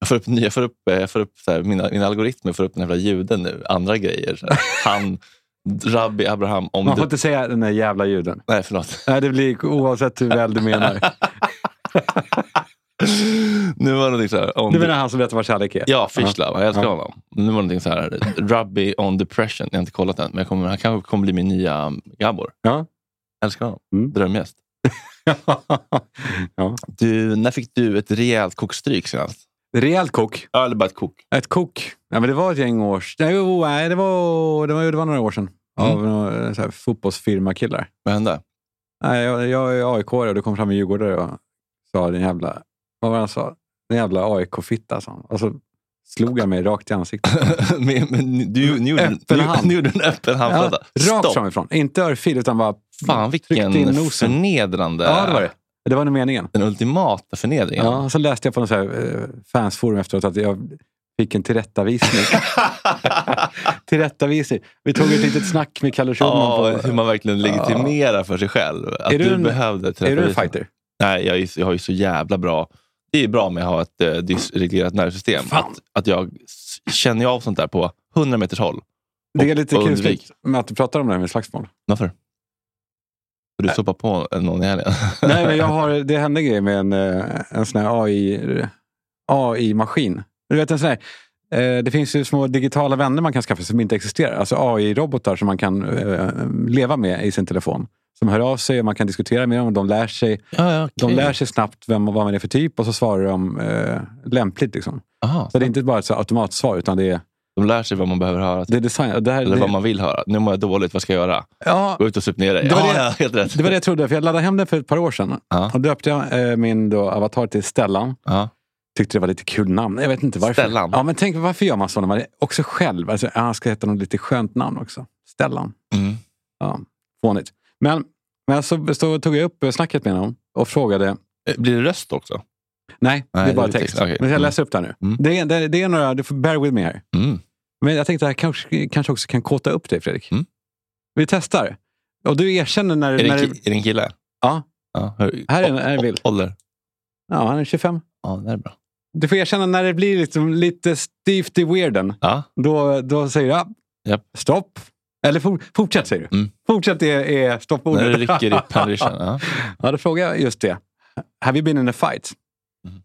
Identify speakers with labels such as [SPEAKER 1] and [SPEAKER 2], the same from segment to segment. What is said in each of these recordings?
[SPEAKER 1] Jag får upp, nya- jag får upp, eh, jag får upp så här, mina, mina algoritmer får upp den här jävla ljuden nu. Andra grejer. så här. Han, Rabbi Abraham, om
[SPEAKER 2] Man får
[SPEAKER 1] du...
[SPEAKER 2] inte säga den där jävla ljuden.
[SPEAKER 1] Nej, förlåt.
[SPEAKER 2] Nej, det blir oavsett hur väl du menar.
[SPEAKER 1] Nu var det någonting så här... Om
[SPEAKER 2] Du menar han som vet vad kärlek är?
[SPEAKER 1] Ja, Fischlove. Jag älskar
[SPEAKER 2] Ja.
[SPEAKER 1] honom. Nu var det någonting så här... Rabbi on depression. Jag har inte kollat den, men jag kommer, han kanske kommer bli min nya um, Gabor.
[SPEAKER 2] Ja.
[SPEAKER 1] Jag älskar honom.
[SPEAKER 2] Mm.
[SPEAKER 1] Drömgäst.
[SPEAKER 2] ja.
[SPEAKER 1] Du, när fick du ett rejält kokstryk senast?
[SPEAKER 2] Rejält kok.
[SPEAKER 1] Ja, eller bara ett kok.
[SPEAKER 2] Ett kok. Ja, men det var ett gäng år s- Nej, jo, nej, det, var, det, var, det var några år sedan.
[SPEAKER 1] Mm.
[SPEAKER 2] Av några eh, så här, fotbollsfirmakillar.
[SPEAKER 1] Vad hände?
[SPEAKER 2] Nej, jag, jag är aik och det kom fram en djurgårdare och sa den jävla... Vad var det han sa? Den jävla AIK-fitta, sa han. Och så slog han mig rakt i ansiktet.
[SPEAKER 1] men, men, du, ni, gjorde,
[SPEAKER 2] Öppen
[SPEAKER 1] ni,
[SPEAKER 2] hand.
[SPEAKER 1] ni gjorde en öppen handflata.
[SPEAKER 2] rakt
[SPEAKER 1] Stopp!
[SPEAKER 2] framifrån. Inte örfil, utan bara
[SPEAKER 1] Fan, vilken
[SPEAKER 2] tryckte Mm. in nosen.
[SPEAKER 1] förnedrande...
[SPEAKER 2] Ja, det var det. Det var nog meningen.
[SPEAKER 1] Den ultimata förnedringen.
[SPEAKER 2] Ja, och så läste jag på någon så här eh, fansforum efteråt att jag fick en tillrättavisning. tillrättavisning. Vi tog ett litet snack med Kalle Schulman.
[SPEAKER 1] Ja,
[SPEAKER 2] på-
[SPEAKER 1] hur man verkligen legitimerar för sig själv. Att
[SPEAKER 2] Är
[SPEAKER 1] du,
[SPEAKER 2] du en-
[SPEAKER 1] behövde
[SPEAKER 2] är du en
[SPEAKER 1] terapi.
[SPEAKER 2] fighter?
[SPEAKER 1] Nej, jag, är, ju- jag har ju så jävla bra... Det är ju bra med att ha ett eh, dysreglerat nervsystem.
[SPEAKER 2] Fan.
[SPEAKER 1] Att, att jag s- känner ju av sånt där på 100 meters håll.
[SPEAKER 2] Det är
[SPEAKER 1] Och-
[SPEAKER 2] lite
[SPEAKER 1] och
[SPEAKER 2] kusligt
[SPEAKER 1] undvik.
[SPEAKER 2] med att du pratar om det här med slagsmål.
[SPEAKER 1] Varför? Har du sopat på någon i helgen?
[SPEAKER 2] Nej, men jag har, det hände grejer med en, eh, en sån här AI, AI-maskin. Du vet, en sån här, eh, det finns ju små digitala vänner man kan skaffa som inte existerar. Alltså AI-robotar som man kan eh, leva med i sin telefon. Som hör av sig och man kan diskutera med dem. och De lär sig,
[SPEAKER 1] ja, ja,
[SPEAKER 2] de
[SPEAKER 1] okej.
[SPEAKER 2] lär sig snabbt vem, vad man är för typ och så svarar de eh, lämpligt. Liksom.
[SPEAKER 1] Aha,
[SPEAKER 2] Så det är inte bara ett så här automatsvar, utan det är,
[SPEAKER 1] de lär sig vad man behöver höra.
[SPEAKER 2] det är design. och Det, här,
[SPEAKER 1] Eller vad
[SPEAKER 2] det,
[SPEAKER 1] man vill höra. Nu mår jag dåligt, vad ska jag göra?
[SPEAKER 2] ja,
[SPEAKER 1] Gå ut och sup ner dig.
[SPEAKER 2] Det var
[SPEAKER 1] Ja,
[SPEAKER 2] det-
[SPEAKER 1] ja, helt rätt.
[SPEAKER 2] det var det jag trodde, för jag laddade hem den för ett par år sedan.
[SPEAKER 1] Ja.
[SPEAKER 2] Och döpte jag eh, min då, avatar till Stellan.
[SPEAKER 1] Ja.
[SPEAKER 2] Tyckte det var lite kul namn. Jag vet inte varför.
[SPEAKER 1] Stellan.
[SPEAKER 2] Ja, men tänk varför gör man så när man är också själv? Alltså, ja, han ska heta något lite skönt namn också. Stellan.
[SPEAKER 1] Mm.
[SPEAKER 2] Ja, fånigt. Men, men så, så tog jag upp snacket med honom och frågade.
[SPEAKER 1] Eh, Blir det röst också?
[SPEAKER 2] Nej, det
[SPEAKER 1] Nej,
[SPEAKER 2] är bara
[SPEAKER 1] det är
[SPEAKER 2] text.
[SPEAKER 1] text. Okej.
[SPEAKER 2] Men jag
[SPEAKER 1] Mm.
[SPEAKER 2] läser upp det här nu.
[SPEAKER 1] Mm.
[SPEAKER 2] Det, är- det, det är några, du får bear with me här.
[SPEAKER 1] Mm.
[SPEAKER 2] Men jag tänkte att jag kanske, kanske också kan kåta upp dig, Fredrik.
[SPEAKER 1] Mm.
[SPEAKER 2] Vi testar. Och du erkänner när...
[SPEAKER 1] Är, det
[SPEAKER 2] när
[SPEAKER 1] en ki- är det en kille?
[SPEAKER 2] Ja.
[SPEAKER 1] ja. Hur,
[SPEAKER 2] Här är en- här är en bild.
[SPEAKER 1] Ålder?
[SPEAKER 2] ja, han är 25.
[SPEAKER 1] Ja, det är bra.
[SPEAKER 2] Du får erkänna när det blir liksom lite styvt i weirden.
[SPEAKER 1] Ja.
[SPEAKER 2] Då, då säger jag
[SPEAKER 1] Japp.
[SPEAKER 2] stopp. Eller for, fortsätt säger du.
[SPEAKER 1] Mm.
[SPEAKER 2] Fortsätt är, är stoppordet.
[SPEAKER 1] När det rycker i perischen. Ja.
[SPEAKER 2] ja, då frågar jag just det. Have you been in a fight?
[SPEAKER 1] Mm.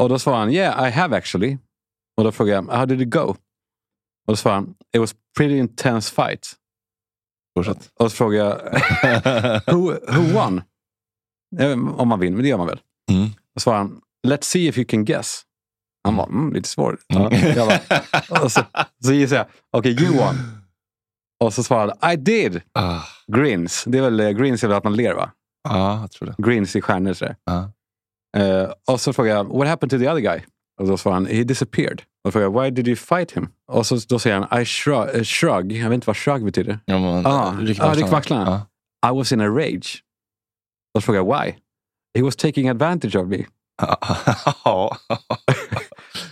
[SPEAKER 2] Och då svarar han yeah, I have actually. Och då frågar jag how did it go? Och då svarar han it was pretty intense fight.
[SPEAKER 1] Fortsätt.
[SPEAKER 2] Och så frågar jag who, who won? Eh, Om man vinner, men det gör man väl?
[SPEAKER 1] Mm.
[SPEAKER 2] Och svarar han let's see if you can guess. Han var mm, lite svår. Ja, jag bara, Och så, så gissar jag, okej, you won. Och så svarade han, I did.
[SPEAKER 1] ah.
[SPEAKER 2] Grins. Det är väl, eh, grins är väl att man ler, va?
[SPEAKER 1] Ja, jag tror det.
[SPEAKER 2] Grins i stjärnor. sådär.
[SPEAKER 1] Ja.
[SPEAKER 2] Eh, och så frågade jag, what happened to the other guy? Och då svarade han, he disappeared. Och frågade jag, why did you fight him? Och så, då säger han, I shrug, eh, shrug. Jag vet inte vad shrug betyder.
[SPEAKER 1] Ja, men,
[SPEAKER 2] Ah,
[SPEAKER 1] rycker
[SPEAKER 2] ah,
[SPEAKER 1] på axlarna.
[SPEAKER 2] ryck på axlarna.
[SPEAKER 1] Ja.
[SPEAKER 2] I was in a rage. Och så frågade jag, why? He was taking advantage of me.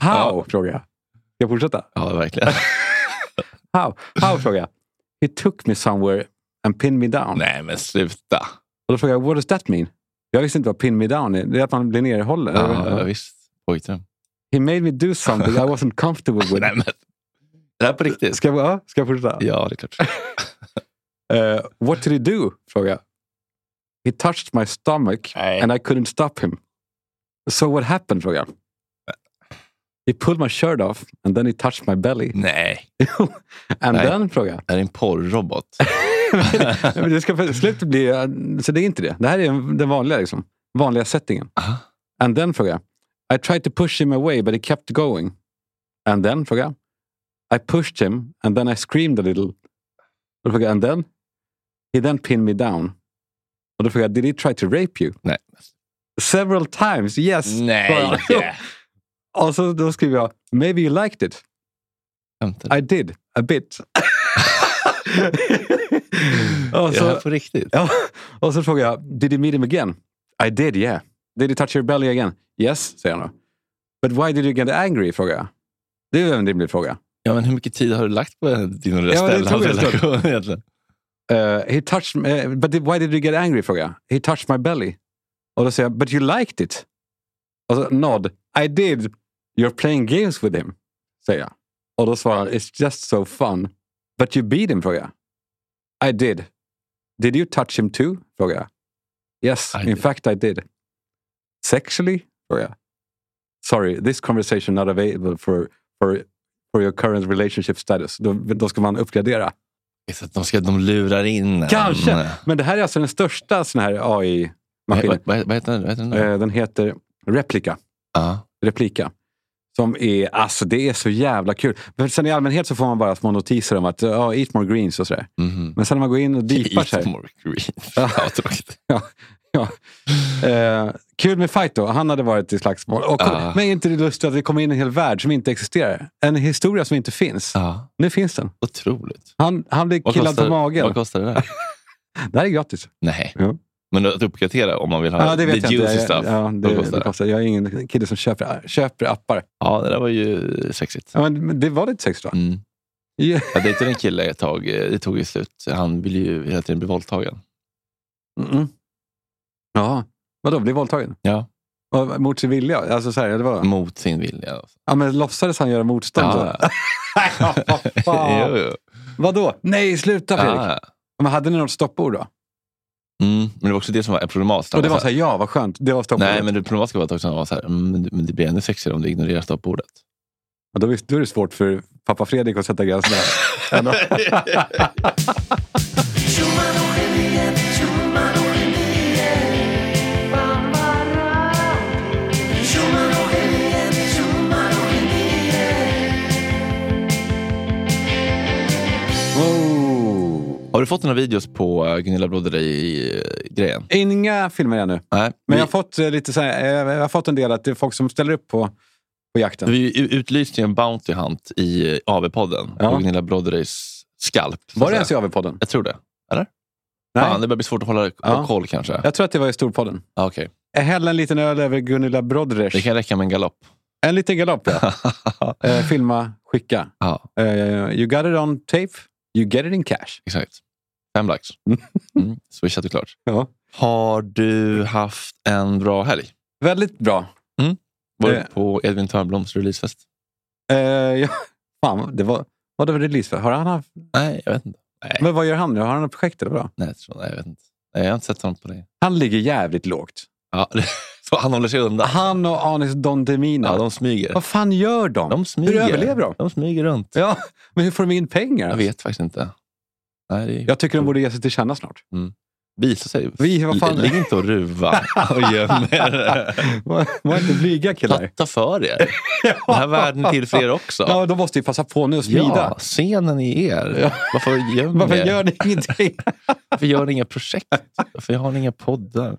[SPEAKER 1] Ja,
[SPEAKER 2] How? frågade jag. Ska jag fortsätta?
[SPEAKER 1] ja, verkligen.
[SPEAKER 2] How? How? frågade jag. He took me somewhere and pinned me down.
[SPEAKER 1] Nej, men sluta.
[SPEAKER 2] Och då frågade jag, what does that mean? Jag visste inte vad pin me down är. Det är att man blir nerhållen.
[SPEAKER 1] Ja, visst. Pojkdröm.
[SPEAKER 2] He made me do something I wasn't comfortable with.
[SPEAKER 1] Nej, men. Är Det här på riktigt?
[SPEAKER 2] ska, jag, ja, ska jag fortsätta?
[SPEAKER 1] Ja, det är klart.
[SPEAKER 2] Eh, what did he do? frågade jag. He touched my stomach
[SPEAKER 1] Nej.
[SPEAKER 2] and I couldn't stop him. So what happened? frågade jag. He pulled my shirt off and then he touched my belly.
[SPEAKER 1] Nej,
[SPEAKER 2] And
[SPEAKER 1] Nej.
[SPEAKER 2] then? frågade jag.
[SPEAKER 1] det här är en porrrobot.
[SPEAKER 2] Nej, men det ska för- slut bli... Så det är inte det. Det här är den vanliga, liksom, vanliga settingen.
[SPEAKER 1] Aha.
[SPEAKER 2] And then frågade jag. I tried to push him away but he kept going. And then frågade jag. I pushed him and then I screamed a little. Och då frågade jag, and then? He then pinned me down. Och då frågade jag, did he try to rape you?
[SPEAKER 1] Nej,
[SPEAKER 2] Several times, yes.
[SPEAKER 1] Nej!
[SPEAKER 2] Jo. Och så då skriver jag, maybe you liked it.
[SPEAKER 1] Skämtar
[SPEAKER 2] I did, a bit. och,
[SPEAKER 1] du? Är det här
[SPEAKER 2] så,
[SPEAKER 1] på riktigt?
[SPEAKER 2] ja, och så frågar jag, did you meet him again? I did, yeah. Did he touch your belly again? Yes, säger han då. But why did you get angry? frågar jag. Det är ju en rimlig fråga.
[SPEAKER 1] Ja, men hur mycket tid har du lagt på din och
[SPEAKER 2] Ja, det tror jag
[SPEAKER 1] relation egentligen?
[SPEAKER 2] Eh, he touched, eh, but did- why did you get angry? frågar jag. He touched my belly. Och då säger jag, but you liked it. Och så nod. I did. You're playing games with him. Säger jag. Och då svarar han, it's just so fun. But you beat him? frågar jag. I did. Did you touch him too? frågar jag. Yes,
[SPEAKER 1] I
[SPEAKER 2] in
[SPEAKER 1] did.
[SPEAKER 2] fact I did. Sexually? frågar jag. Sorry, this conversation not available for, for, for your current relationship status. Då, då ska man uppgradera.
[SPEAKER 1] Så att de, ska, de lurar in en.
[SPEAKER 2] Kanske.
[SPEAKER 1] Nej,
[SPEAKER 2] Men det här är alltså den största sån här AI-maskinen.
[SPEAKER 1] Vad, vad, vad heter den? Vad heter den?
[SPEAKER 2] Eh, Den heter Replica.
[SPEAKER 1] Ja.
[SPEAKER 2] Replika. Som är, alltså det är så jävla kul. Men sen i allmänhet så får man bara små notiser om att ja, eat more greens och sådär.
[SPEAKER 1] Mhm.
[SPEAKER 2] Men sen när man går in och deepar
[SPEAKER 1] Eat
[SPEAKER 2] sig.
[SPEAKER 1] more green. Fan, vad tråkigt.
[SPEAKER 2] Ja. Eh, kul med fight då. Han hade varit i slagsmål. Och kom,
[SPEAKER 1] Ah.
[SPEAKER 2] Men är inte det lustigt att det kommer in en hel värld som inte existerar? En historia som inte finns.
[SPEAKER 1] Ja,
[SPEAKER 2] Nu finns den.
[SPEAKER 1] otroligt.
[SPEAKER 2] Han, han blir
[SPEAKER 1] Ah. Vad
[SPEAKER 2] killad
[SPEAKER 1] kostar-
[SPEAKER 2] på magen.
[SPEAKER 1] Vad kostar det där?
[SPEAKER 2] Det här är gratis.
[SPEAKER 1] Nej.
[SPEAKER 2] Jo.
[SPEAKER 1] Men att uppgradera om man vill ha
[SPEAKER 2] Ja, det vet
[SPEAKER 1] the
[SPEAKER 2] jag
[SPEAKER 1] Ah, juicy
[SPEAKER 2] inte.
[SPEAKER 1] stuff.
[SPEAKER 2] Ja,
[SPEAKER 1] vad
[SPEAKER 2] det,
[SPEAKER 1] kostar
[SPEAKER 2] det
[SPEAKER 1] det?
[SPEAKER 2] kostar. Jag är ingen kille som köper, köper appar.
[SPEAKER 1] Ja, det där var ju sexigt.
[SPEAKER 2] Ja, men men det var lite sexigt va?
[SPEAKER 1] Mm.
[SPEAKER 2] Ja.
[SPEAKER 1] Jag dejtade en kille ett tag. eh, Det tog ju slut. Han ville ju hela tiden bli våldtagen.
[SPEAKER 2] Mm-mm. Ja, vadå? Blev våldtagen?
[SPEAKER 1] Ja.
[SPEAKER 2] Och Mot sin vilja? Alltså så här, eller vadå?
[SPEAKER 1] Mot sin vilja.
[SPEAKER 2] Ja, men låtsades han göra motstånd?
[SPEAKER 1] Ja.
[SPEAKER 2] Så? Nej, ja, vad fan.
[SPEAKER 1] jo, jo.
[SPEAKER 2] Vadå? Nej, sluta Fredrik!
[SPEAKER 1] Ja.
[SPEAKER 2] Men hade ni något stoppord då?
[SPEAKER 1] Mm. Men det var också det som var problematiskt.
[SPEAKER 2] Och det var
[SPEAKER 1] Han
[SPEAKER 2] så här, ja vad skönt, det var stoppord.
[SPEAKER 1] Nej, men det problematiska var att också han var så här, mm, men det- men det blir ännu sexigare om du ignorerar stoppordet.
[SPEAKER 2] ja, då, visst- då är det svårt för pappa Fredrik att sätta gränserna. Ändå.
[SPEAKER 3] Humano-geniet, humano-geniet Humano-geniet, humano-geniet
[SPEAKER 2] wow.
[SPEAKER 1] Har du fått några videos på eh, Gunilla Broder i-grejen?
[SPEAKER 2] Inga filmer ännu.
[SPEAKER 1] Nej.
[SPEAKER 2] Men jag
[SPEAKER 1] vi,
[SPEAKER 2] har fått, eh, lite så här, eh, jag har fått en del att det är folk som ställer upp på, på jakten.
[SPEAKER 1] vi utlyste ju en Bounty Hunt i eh, AV-podden.
[SPEAKER 2] Ja.
[SPEAKER 1] På Gunilla Broderys skalp. så
[SPEAKER 2] Var
[SPEAKER 1] att
[SPEAKER 2] det
[SPEAKER 1] säga.
[SPEAKER 2] ens i AV-podden?
[SPEAKER 1] Jag tror det. Eller?
[SPEAKER 2] Nej.
[SPEAKER 1] Fan, det börjar bli svårt att hålla
[SPEAKER 2] Ja.
[SPEAKER 1] koll kanske.
[SPEAKER 2] Jag tror att det var i Storpodden.
[SPEAKER 1] Ja, okej.
[SPEAKER 2] Häll en liten öl över Gunilla Brodrej.
[SPEAKER 1] Det kan räcka med en galopp.
[SPEAKER 2] En liten galopp, ja. eh, filma, skicka.
[SPEAKER 1] ja,
[SPEAKER 2] Eh, you got it on tape, you get it in cash.
[SPEAKER 1] exakt. Fem lax. Mm. Swishat är klart.
[SPEAKER 2] Ja.
[SPEAKER 1] Har du haft en bra helg?
[SPEAKER 2] Väldigt bra.
[SPEAKER 1] Var du
[SPEAKER 2] Eh.
[SPEAKER 1] på Edvin Törnbloms releasefest?
[SPEAKER 2] Eh, ja. Fan, det var, vad det var release för? Har han haft,
[SPEAKER 1] Nej, jag vet inte. Nej.
[SPEAKER 2] men vad gör han nu? Har han något projekt eller vadå?
[SPEAKER 1] Nej, jag, tror, nej, jag vet inte. Nej, jag har inte sett honom på det.
[SPEAKER 2] Han ligger jävligt lågt.
[SPEAKER 1] Ja, så han håller sig undan.
[SPEAKER 2] Han och Anis Don Demina.
[SPEAKER 1] Ja, de smyger.
[SPEAKER 2] Vad fan gör de?
[SPEAKER 1] De smyger.
[SPEAKER 2] Hur överlever de?
[SPEAKER 1] De smyger runt.
[SPEAKER 2] Ja, men hur får de in pengar?
[SPEAKER 1] Jag vet faktiskt inte. Nej, det är...
[SPEAKER 2] Jag tycker de borde ge sig till känna snart.
[SPEAKER 1] Visa sig.
[SPEAKER 2] Vi, vad fan-
[SPEAKER 1] Ligg inte och ruva och göm er.
[SPEAKER 2] Var var inte blyga
[SPEAKER 1] Ta,
[SPEAKER 2] killar.
[SPEAKER 1] ta för er. Den här världen är till för er också.
[SPEAKER 2] Ja, de måste ju passa på nu och smida.
[SPEAKER 1] Ja, scenen är er.
[SPEAKER 2] Ja.
[SPEAKER 1] Varför gömmer
[SPEAKER 2] Varför
[SPEAKER 1] er?
[SPEAKER 2] gör ni ingenting?
[SPEAKER 1] Varför gör ni inga projekt? Varför har ni inga poddar?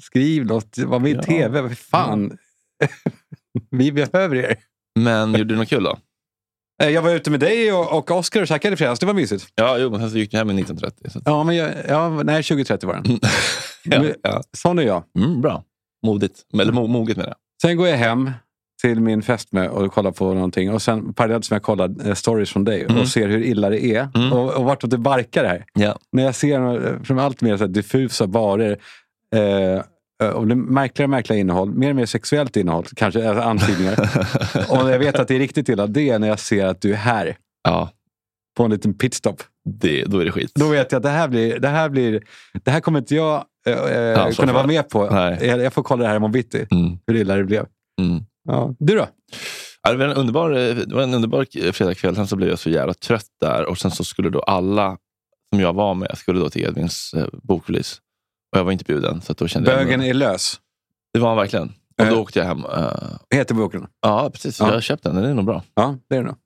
[SPEAKER 2] Skriv något, var med i
[SPEAKER 1] Ja.
[SPEAKER 2] tv. Vad Fan, vi behöver er.
[SPEAKER 1] Men gjorde du något kul då?
[SPEAKER 2] Eh, Jag var ute med dig och, och Oscar och käkade i fredags. Det var mysigt.
[SPEAKER 1] Ja, jo, men sen så gick ni hem i 1930. Så. att-
[SPEAKER 2] Ja, men jag, ja, nej, 2030 var den.
[SPEAKER 1] Ja,
[SPEAKER 2] Men-
[SPEAKER 1] ja.
[SPEAKER 2] Sån är jag.
[SPEAKER 1] Mm, bra. Modigt. Eller mo- moget med det.
[SPEAKER 2] Sen går jag hem till min fästmö och kollar på någonting. Och sen parallellt som jag kollar eh, stories från dig
[SPEAKER 1] Mm.
[SPEAKER 2] och ser hur illa det är.
[SPEAKER 1] Mm.
[SPEAKER 2] Och, och vartåt det barkar det här.
[SPEAKER 1] Ja.
[SPEAKER 2] När jag ser eh, från allt mer så här diffusa varor. Eh, eh, och det märkligare och märkligare innehåll. Mer och mer sexuellt innehåll. Kanske alltså antydningar. och när jag vet att det är riktigt illa. Det är när jag ser att du är här.
[SPEAKER 1] Ja,
[SPEAKER 2] På en liten pitstop.
[SPEAKER 1] det, då är det skit.
[SPEAKER 2] Då vet jag att det här, blir, det här, blir, det här kommer inte jag eh, eh,
[SPEAKER 1] Ansvar
[SPEAKER 2] kunna
[SPEAKER 1] för.
[SPEAKER 2] vara med på.
[SPEAKER 1] Nej.
[SPEAKER 2] Jag, jag får kolla det här imorgon bitti.
[SPEAKER 1] Mm,
[SPEAKER 2] Hur illa det blev.
[SPEAKER 1] mm.
[SPEAKER 2] Ja. Du då?
[SPEAKER 1] Ja, det, var en underbar, det var en underbar fredagkväll. Sen så blev jag så jävla trött där och sen så skulle då alla som jag var med skulle då till Edvins eh, bokrelease. Och jag var inte bjuden. Så att då kände
[SPEAKER 2] Bögen
[SPEAKER 1] jag,
[SPEAKER 2] är lös.
[SPEAKER 1] Det var han verkligen. Och
[SPEAKER 2] Eh.
[SPEAKER 1] då åkte jag hem. eh,
[SPEAKER 2] Heter boken.
[SPEAKER 1] Ja, precis.
[SPEAKER 2] Ja.
[SPEAKER 1] Jag har köpt den. Den är nog bra.
[SPEAKER 2] Ja, det är det nog.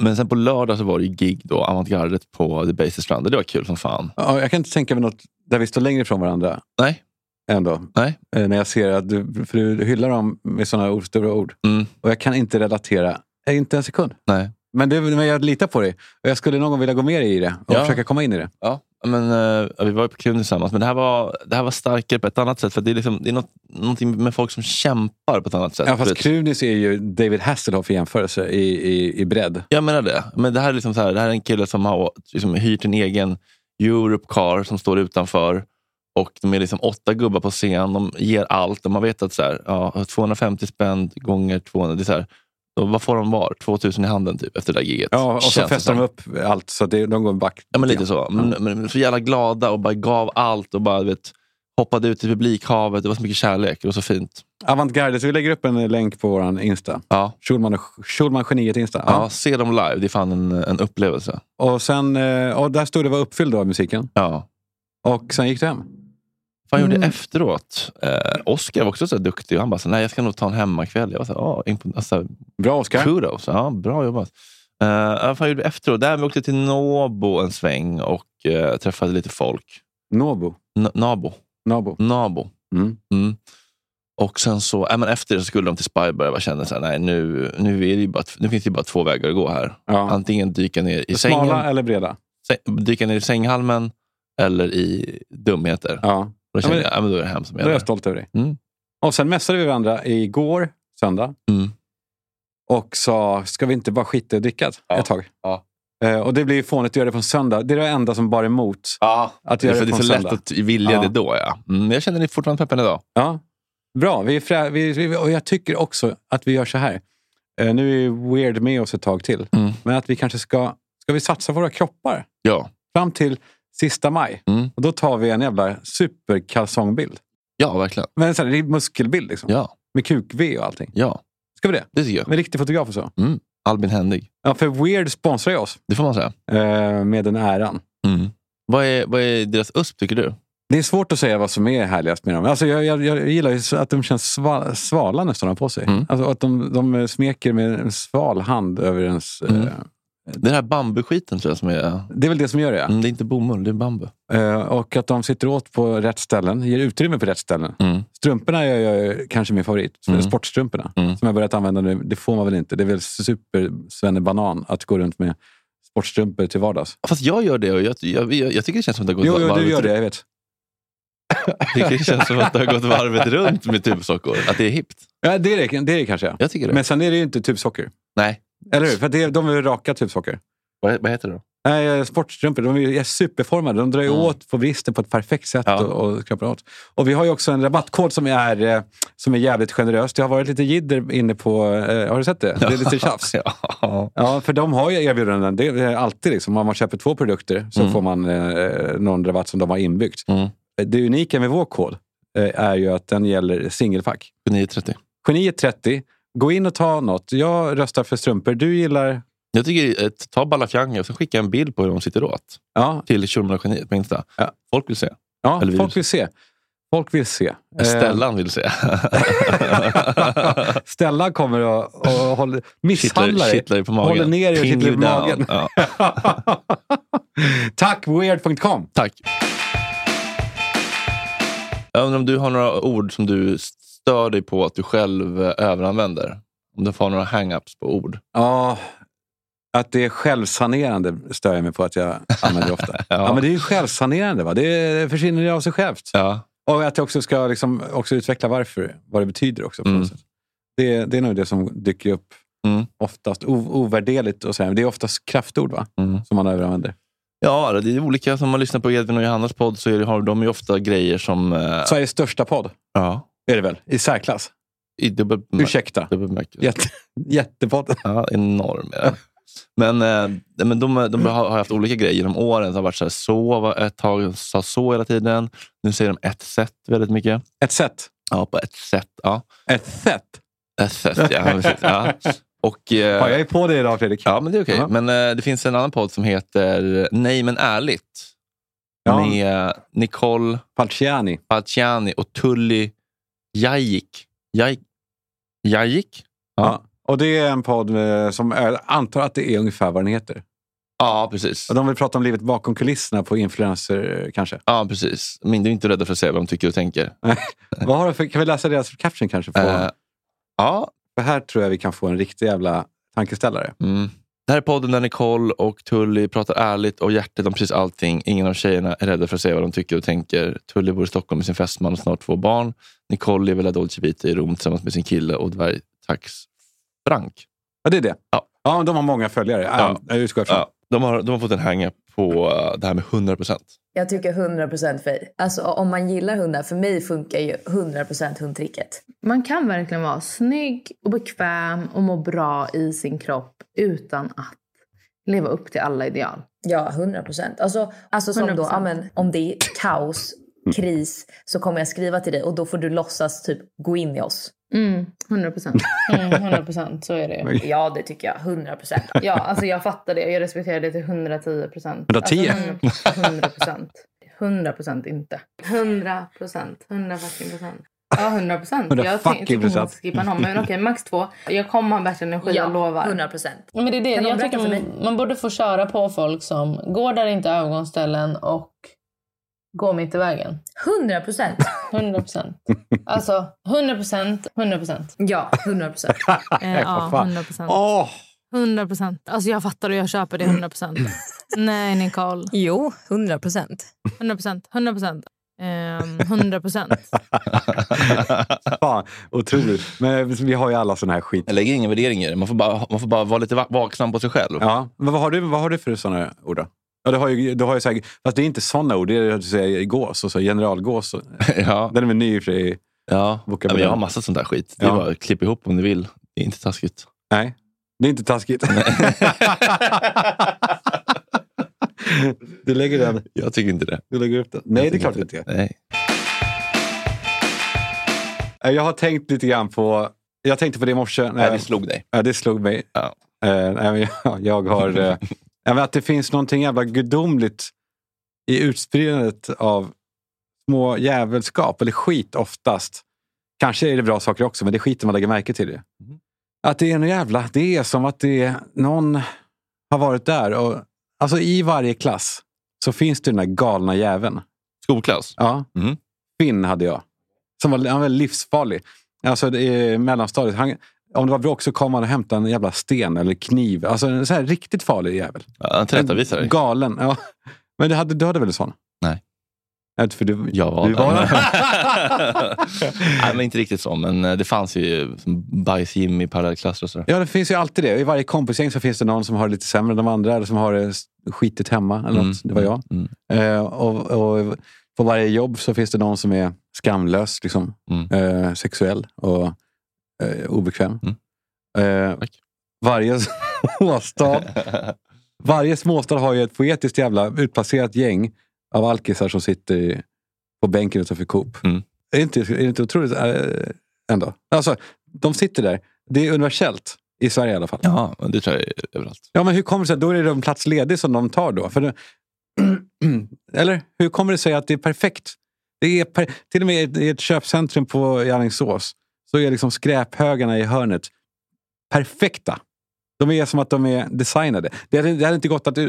[SPEAKER 1] Men sen på lördag så var det ju gig då, avantgardet på The Basis Strand. Det var kul som fan.
[SPEAKER 2] Ja, jag kan inte tänka mig något där vi står längre ifrån varandra.
[SPEAKER 1] Nej,
[SPEAKER 2] ändå.
[SPEAKER 1] Nej.
[SPEAKER 2] Eh, När jag ser att du, för du hyllar dem med sådana ord, stora ord.
[SPEAKER 1] Mm.
[SPEAKER 2] Och jag kan inte relatera. Eh, Inte en sekund.
[SPEAKER 1] Nej.
[SPEAKER 2] Men, det, men jag litar på dig. Och jag skulle någon gång vilja gå mer i det och
[SPEAKER 1] Ja.
[SPEAKER 2] försöka komma in i det.
[SPEAKER 1] Ja, men, eh, vi var ju på kul tillsammans, men det här, var, det här var starkare på ett annat sätt. För det är, liksom, det är något, någonting med folk som kämpar på ett annat sätt.
[SPEAKER 2] Ja, fast
[SPEAKER 1] Vet-
[SPEAKER 2] Krunis är ju David Hasselhoff i jämförelse i, i, i bredd.
[SPEAKER 1] Jag menar det. Men det här är, liksom så här, det här är en kille som har liksom, hyrt en egen Europe car som står utanför. Och De är liksom åtta gubbar på scen. De ger allt. Och man vet att så här, ja, 250 spänn gånger 200. Det är så här, då, vad får de var? 2000 i handen typ efter det där giget.
[SPEAKER 2] Ja, och så
[SPEAKER 1] Känns det
[SPEAKER 2] fäster
[SPEAKER 1] som.
[SPEAKER 2] de upp allt så att det, de går back.
[SPEAKER 1] Ja, men lite så. Men, men så jävla glada och bara gav allt och bara du vet, hoppade ut i publikhavet. Det var så mycket kärlek. Det var så fint.
[SPEAKER 2] Avantgarde, så vi lägger upp en eh, länk på vår Insta.
[SPEAKER 1] Ja.
[SPEAKER 2] Schulman, och- Schulman Geniet Insta.
[SPEAKER 1] Ja. se dem live. Det är fan en, en upplevelse.
[SPEAKER 2] Och, sen, eh, och där stod det var uppfylld av musiken.
[SPEAKER 1] Ja.
[SPEAKER 2] Och sen gick du hem.
[SPEAKER 1] Vad han gjorde efteråt? Eh, Oscar var också så här duktig. Han bara, så, här, nej jag ska nog ta en hemmakväll. Jag var så här, ah, impon- alltså,
[SPEAKER 2] Bra Oscar.
[SPEAKER 1] kudos. Ja, bra jobbat. Eh, vad fan gjorde vi efteråt? Där vi åkte till Nåbo en sväng och eh, träffade lite folk.
[SPEAKER 2] Nobo.
[SPEAKER 1] N- Nabo.
[SPEAKER 2] Nabo.
[SPEAKER 1] Nabo.
[SPEAKER 2] Mm.
[SPEAKER 1] Mm. Och sen så, äh, men efter det så skulle de till Spybar. Jag bara kände så här, nej, nu, nu, är det ju bara, t- nu finns det ju bara två vägar att gå här.
[SPEAKER 2] Ja.
[SPEAKER 1] Antingen dyka ner i
[SPEAKER 2] Smala
[SPEAKER 1] sängen,
[SPEAKER 2] eller breda?
[SPEAKER 1] säng, dyka ner i sänghalmen eller i dumheter.
[SPEAKER 2] Ja.
[SPEAKER 1] Då kände
[SPEAKER 2] men-
[SPEAKER 1] jag, ja, men då är det hem som
[SPEAKER 2] Då är jag
[SPEAKER 1] gäller.
[SPEAKER 2] stolt över dig.
[SPEAKER 1] Mm.
[SPEAKER 2] Och sen mässade vi varandra igår, söndag.
[SPEAKER 1] Mm.
[SPEAKER 2] Och sa, ska vi inte bara skita i att dricka ett-
[SPEAKER 1] Ja.
[SPEAKER 2] ett tag?
[SPEAKER 1] Ja.
[SPEAKER 2] Eh, och det blir ju fånigt att göra det på en söndag. Det är det enda som bar emot.
[SPEAKER 1] Ja,
[SPEAKER 2] Att
[SPEAKER 1] det
[SPEAKER 2] göra
[SPEAKER 1] är, för det
[SPEAKER 2] det
[SPEAKER 1] är
[SPEAKER 2] på en
[SPEAKER 1] så lätt
[SPEAKER 2] söndag.
[SPEAKER 1] att vilja
[SPEAKER 2] Ja.
[SPEAKER 1] det då. Ja. Mm, jag känner ni fortfarande peppen idag.
[SPEAKER 2] Ja. Bra, vi är frä... vi, vi, och jag tycker också att vi gör så här. Eh, nu är ju Weird med oss ett tag till.
[SPEAKER 1] Mm.
[SPEAKER 2] Men att vi kanske ska, ska vi satsa våra kroppar
[SPEAKER 1] Ja.
[SPEAKER 2] fram till sista maj.
[SPEAKER 1] Mm.
[SPEAKER 2] Och då tar vi en jävla superkalsongbild.
[SPEAKER 1] ja, verkligen.
[SPEAKER 2] Men så här, det är muskelbild liksom.
[SPEAKER 1] Ja,
[SPEAKER 2] Med kuk-V och allting.
[SPEAKER 1] ja,
[SPEAKER 2] Ska vi det?
[SPEAKER 1] det tycker jag.
[SPEAKER 2] Med riktig fotograf och så.
[SPEAKER 1] Albin Händig,
[SPEAKER 2] Ja, för Weird sponsrar ju oss
[SPEAKER 1] det får man säga.
[SPEAKER 2] eh, med den äran.
[SPEAKER 1] Mm. Vad, är, vad är deras USP tycker
[SPEAKER 2] Eh,
[SPEAKER 1] du?
[SPEAKER 2] Det är svårt att säga vad som är härligast med dem. Alltså jag, jag, jag gillar ju så att de känns sval, svala nästan på sig.
[SPEAKER 1] Mm.
[SPEAKER 2] Alltså att de, de smeker med en sval hand över ens... eh,
[SPEAKER 1] Mm. Den här bambuskiten tror jag som är...
[SPEAKER 2] det är väl det som gör det.
[SPEAKER 1] Mm, det är inte bomull, det är bambu.
[SPEAKER 2] Eh, och att de sitter åt på rätt ställen, ger utrymme på rätt ställen.
[SPEAKER 1] Mm.
[SPEAKER 2] Strumporna är ju kanske min favorit.
[SPEAKER 1] Mm.
[SPEAKER 2] Sportstrumporna
[SPEAKER 1] Mm.
[SPEAKER 2] som jag börjat använda nu. Det får man väl inte. Det är väl super banan att gå runt med sportstrumpor till vardags.
[SPEAKER 1] Fast jag gör det och jag, jag, jag, jag tycker det känns som att det har gått
[SPEAKER 2] Jo, jo,
[SPEAKER 1] varvet
[SPEAKER 2] du gör det. Jag vet.
[SPEAKER 1] Jag tycker det känns som att det har gått varvet runt med tubsockor. Att det är hippt.
[SPEAKER 2] Ja, det är det, det är det kanske. ja.
[SPEAKER 1] Jag tycker det.
[SPEAKER 2] Men sen är det ju inte tubsocker.
[SPEAKER 1] Nej.
[SPEAKER 2] Eller hur? För det, de är ju raka tubsocker.
[SPEAKER 1] Vad, vad heter det då?
[SPEAKER 2] Nej, eh, sportstrumpor. De är ju superformade. De drar ju
[SPEAKER 1] Mm.
[SPEAKER 2] åt på vristen på ett perfekt sätt
[SPEAKER 1] Ja.
[SPEAKER 2] och, och skrapar åt. Och vi har ju också en rabattkod som är, eh, som är jävligt generös. Det har varit lite jidder inne på... Eh, har du sett det? Det är lite tjafs.
[SPEAKER 1] Ja.
[SPEAKER 2] Ja, för de har ju erbjudanden. Det är alltid liksom. Om man köper två produkter så
[SPEAKER 1] Mm.
[SPEAKER 2] får man eh, någon rabatt som de har inbyggt.
[SPEAKER 1] Mm.
[SPEAKER 2] Det unika med vår kod eh, är ju att den gäller singelpack.
[SPEAKER 1] 9.30.
[SPEAKER 2] Geniet 30. Gå in och ta något. Jag röstar för strumpor. Du gillar...
[SPEAKER 1] Jag tycker, eh, ta Balafianga och så skicka en bild på hur de sitter åt.
[SPEAKER 2] Ja,
[SPEAKER 1] Till Tjurman och Geniet på Insta.
[SPEAKER 2] Ja.
[SPEAKER 1] Folk vill se.
[SPEAKER 2] ja
[SPEAKER 1] Eller vi
[SPEAKER 2] folk vill se. Folk vill se. Eh,
[SPEAKER 1] Stellan vill se.
[SPEAKER 2] Stellan Eh, kommer och, och håller, misshandlar
[SPEAKER 1] kittlar,
[SPEAKER 2] dig.
[SPEAKER 1] kittlar dig på magen.
[SPEAKER 2] Håller ner dig och
[SPEAKER 1] Pin
[SPEAKER 2] kittlar dig på
[SPEAKER 1] you down.
[SPEAKER 2] magen.
[SPEAKER 1] Ja,
[SPEAKER 2] Tack weird.com.
[SPEAKER 1] tack. Jag undrar om du har några ord som du stör dig på att du själv eh, överanvänder? Om du får några hang-ups på ord?
[SPEAKER 2] Ja, att det är självsanerande stör jag mig på att jag använder ofta. ja. men det är ju självsanerande. Va? Det försvinner ju av sig självt.
[SPEAKER 1] Ja.
[SPEAKER 2] Och att jag också ska liksom, också utveckla varför, vad det betyder också. På
[SPEAKER 1] Mm.
[SPEAKER 2] något sätt. Det, det är nog det som dyker upp
[SPEAKER 1] Mm.
[SPEAKER 2] oftast. O, ovärderligt och så här. Det är oftast kraftord va?
[SPEAKER 1] Mm.
[SPEAKER 2] som man överanvänder.
[SPEAKER 1] ja, det är olika. Som man lyssnar på Edvin och Johannas podd så är det, har de ju ofta grejer som... eh,
[SPEAKER 2] Sveriges största podd
[SPEAKER 1] Ja.
[SPEAKER 2] är det väl? I särklass.
[SPEAKER 1] I dubbel...
[SPEAKER 2] Ursäkta.
[SPEAKER 1] dubbel bemärkelse.
[SPEAKER 2] Jätte, jättepodden.
[SPEAKER 1] Ja, enorm är den. Men, eh, men de, de har har haft olika grejer genom åren. Det har varit så här, så var ett tag, sa så hela tiden. Nu säger de ett sätt väldigt mycket.
[SPEAKER 2] Ett sätt.
[SPEAKER 1] Ja, på ett sätt. Ja,
[SPEAKER 2] Ett sätt.
[SPEAKER 1] ett sätt. Ja, precis, ja. Och,
[SPEAKER 2] Ja, jag
[SPEAKER 1] eh,
[SPEAKER 2] är på det idag Fredrik.
[SPEAKER 1] ja, men det är okej.
[SPEAKER 2] Ja.
[SPEAKER 1] Men eh, det finns en annan podd som heter Nej men ärligt.
[SPEAKER 2] Ja.
[SPEAKER 1] Med Nicole
[SPEAKER 2] Falciani.
[SPEAKER 1] Falciani och Tully Jajik. Jaj- Jajik?
[SPEAKER 2] Ja. Och det är en podd eh, som jag antar att det är ungefär vad den heter.
[SPEAKER 1] Ja, precis.
[SPEAKER 2] Och de vill prata om livet bakom kulisserna på influencer eh, kanske.
[SPEAKER 1] Ja, precis. Men du är inte rädda för att säga vad de tycker och tänker.
[SPEAKER 2] Vad har de för, kan vi läsa deras caption kanske? På,
[SPEAKER 1] Eh, ja.
[SPEAKER 2] För här tror jag vi kan få en riktig jävla tankeställare.
[SPEAKER 1] Mm. Det här är podden där Nicole och Tully pratar ärligt och hjärtligt om precis allting. Ingen av tjejerna är rädda för att säga vad de tycker och tänker. Tully bor i Stockholm med sin fästman och snart två barn. Nicole lever La Dolce Vita i Rom tillsammans med sin kille och dvärgtax Frank.
[SPEAKER 2] Ja, det är det.
[SPEAKER 1] Ja.
[SPEAKER 2] ja men de har många följare. Ja.
[SPEAKER 1] Ja.
[SPEAKER 2] Jag utgår ifrån.
[SPEAKER 1] Ja, de, har, de har fått en hang-up på eh, det här med 100 procent.
[SPEAKER 4] Jag tycker 100% fej. Alltså om man gillar hundar, för mig funkar ju 100% hundtricket.
[SPEAKER 5] Man kan verkligen vara snygg och bekväm och må bra i sin kropp utan att leva upp till alla ideal.
[SPEAKER 4] Ja, 100%. Alltså, alltså som då,
[SPEAKER 5] 100%.
[SPEAKER 4] ja, men, om det är kaos, kris, så kommer jag skriva till dig och då får du låtsas typ gå in i oss.
[SPEAKER 5] Mm, 100 procent. Mm, 100 procent, så är det ju.
[SPEAKER 4] Ja, det tycker jag. 100%.
[SPEAKER 5] Ja, alltså jag fattar det. Jag respekterar det till 110 procent.
[SPEAKER 2] 110?
[SPEAKER 5] Alltså, 100 procent. 100 procent inte. 100 procent. 100 fucking procent. Ja, 100 procent.
[SPEAKER 2] 100
[SPEAKER 5] Jag
[SPEAKER 2] fucking
[SPEAKER 5] ty- tycker hon
[SPEAKER 2] procent.
[SPEAKER 5] ska skippa någon, men okej, max två. Jag kommer ha bättre energi, jag lovar.
[SPEAKER 4] 100%.
[SPEAKER 6] Ja, Men det är det.
[SPEAKER 4] Kan någon
[SPEAKER 6] Jag
[SPEAKER 4] berätta
[SPEAKER 6] tycker
[SPEAKER 4] för
[SPEAKER 6] man, man borde få köra på folk som går där inte övergångsställen och går mitt i vägen.
[SPEAKER 4] 100%.
[SPEAKER 6] 100 procent. Alltså 100 procent, 100 procent.
[SPEAKER 4] Ja, 100%.
[SPEAKER 7] Eh,
[SPEAKER 2] Äh, vad
[SPEAKER 7] ja,
[SPEAKER 2] fan.
[SPEAKER 7] 100 procent.
[SPEAKER 2] Åh!
[SPEAKER 7] 100 procent. Alltså jag fattar och jag köper det 100 procent. Nej Nicole.
[SPEAKER 8] Jo, 100 procent.
[SPEAKER 7] 100 procent. 100 procent. 100 procent.
[SPEAKER 2] Fan, otroligt. Men vi har ju alla sån här skit.
[SPEAKER 1] Jag lägger ingen värdering i det. Man får bara, man får bara vara lite va- vaksam på sig själv.
[SPEAKER 2] Ja, men vad har du, vad har du för såna ord då? Ja, du har ju, du har ju så här, fast det är inte såna ord. Det är att du säger gås och så generalgås. Och,
[SPEAKER 1] Ja.
[SPEAKER 2] den är väl ny i och för sig.
[SPEAKER 1] Ja. Ja,
[SPEAKER 2] Vokabulär.
[SPEAKER 1] men jag har massa sånt där skit. Det är
[SPEAKER 2] Ja.
[SPEAKER 1] bara att klippa ihop om ni vill. Det är inte taskigt.
[SPEAKER 2] Nej, det är inte taskigt. du, lägger den,
[SPEAKER 1] Jag tycker inte det.
[SPEAKER 2] du lägger upp den. Nej, det är klart inte. det.
[SPEAKER 1] Nej.
[SPEAKER 2] Eh, Jag har tänkt lite grann på... Jag tänkte på det i morse. när
[SPEAKER 1] Nej, det
[SPEAKER 2] jag-
[SPEAKER 1] slog dig.
[SPEAKER 2] Ja, det slog mig.
[SPEAKER 1] Ja.
[SPEAKER 2] Eh, nej, men jag, jag har... eh, jag vet att det finns någonting jävla gudomligt i utspridandet av små jävelskap, eller skit oftast. Kanske är det bra saker också, men det är skiten man lägger märke till. Det. Att det är någon jävla... Det är som att det är, någon har varit där. Och, alltså I varje klass så finns det den där galna jäveln.
[SPEAKER 1] Skolklass.
[SPEAKER 2] Ja.
[SPEAKER 1] Mm.
[SPEAKER 2] Finn hade jag. Som var, han var livsfarlig. Alltså det är mellanstadiet. Han, om det var bråk så kom han och hämtade en jävla sten eller kniv. Alltså en så här riktigt farlig jävel.
[SPEAKER 1] Ja, Han tillrättavisar dig.
[SPEAKER 2] Galen. Ja. Men du hade, du hade väl en sån?
[SPEAKER 1] Nej.
[SPEAKER 2] Nej, För du,
[SPEAKER 1] Jag var
[SPEAKER 2] du
[SPEAKER 1] där.
[SPEAKER 2] var
[SPEAKER 1] Nej, men inte riktigt så. Men eh, det fanns ju som bajs-Jim i parallellklasser och sådär.
[SPEAKER 2] Ja, det finns ju alltid det. I varje kompisgäng så finns det någon som har det lite sämre än de andra. Eller som har det s- skitigt hemma. Eller något. Det var jag.
[SPEAKER 1] Mm.
[SPEAKER 2] Eh, och, och på varje jobb så finns det någon som är skamlös, liksom,
[SPEAKER 1] Mm.
[SPEAKER 2] eh, sexuell och eh, obekväm.
[SPEAKER 1] Mm.
[SPEAKER 2] Eh,
[SPEAKER 1] Tack.
[SPEAKER 2] varje småstad, varje småstad har ju ett poetiskt jävla utplacerat gäng av alkisar som sitter i- på bänken utanför Coop.
[SPEAKER 1] Mm.
[SPEAKER 2] Är, det inte, är det inte otroligt eh, ändå? Alltså, de sitter där. Det är universellt. I Sverige i alla fall.
[SPEAKER 1] Ja, men det tror jag är överallt.
[SPEAKER 2] Ja, men hur kommer det sig att då är det en plats ledig som de tar då? För det, eller hur kommer det sig att det är perfekt? Det är per, till och med i ett- i ett köpcentrum på i Alingsås så är liksom skräphögarna i hörnet perfekta. De är som att de är designade. Det hade, det hade inte gått att... eh,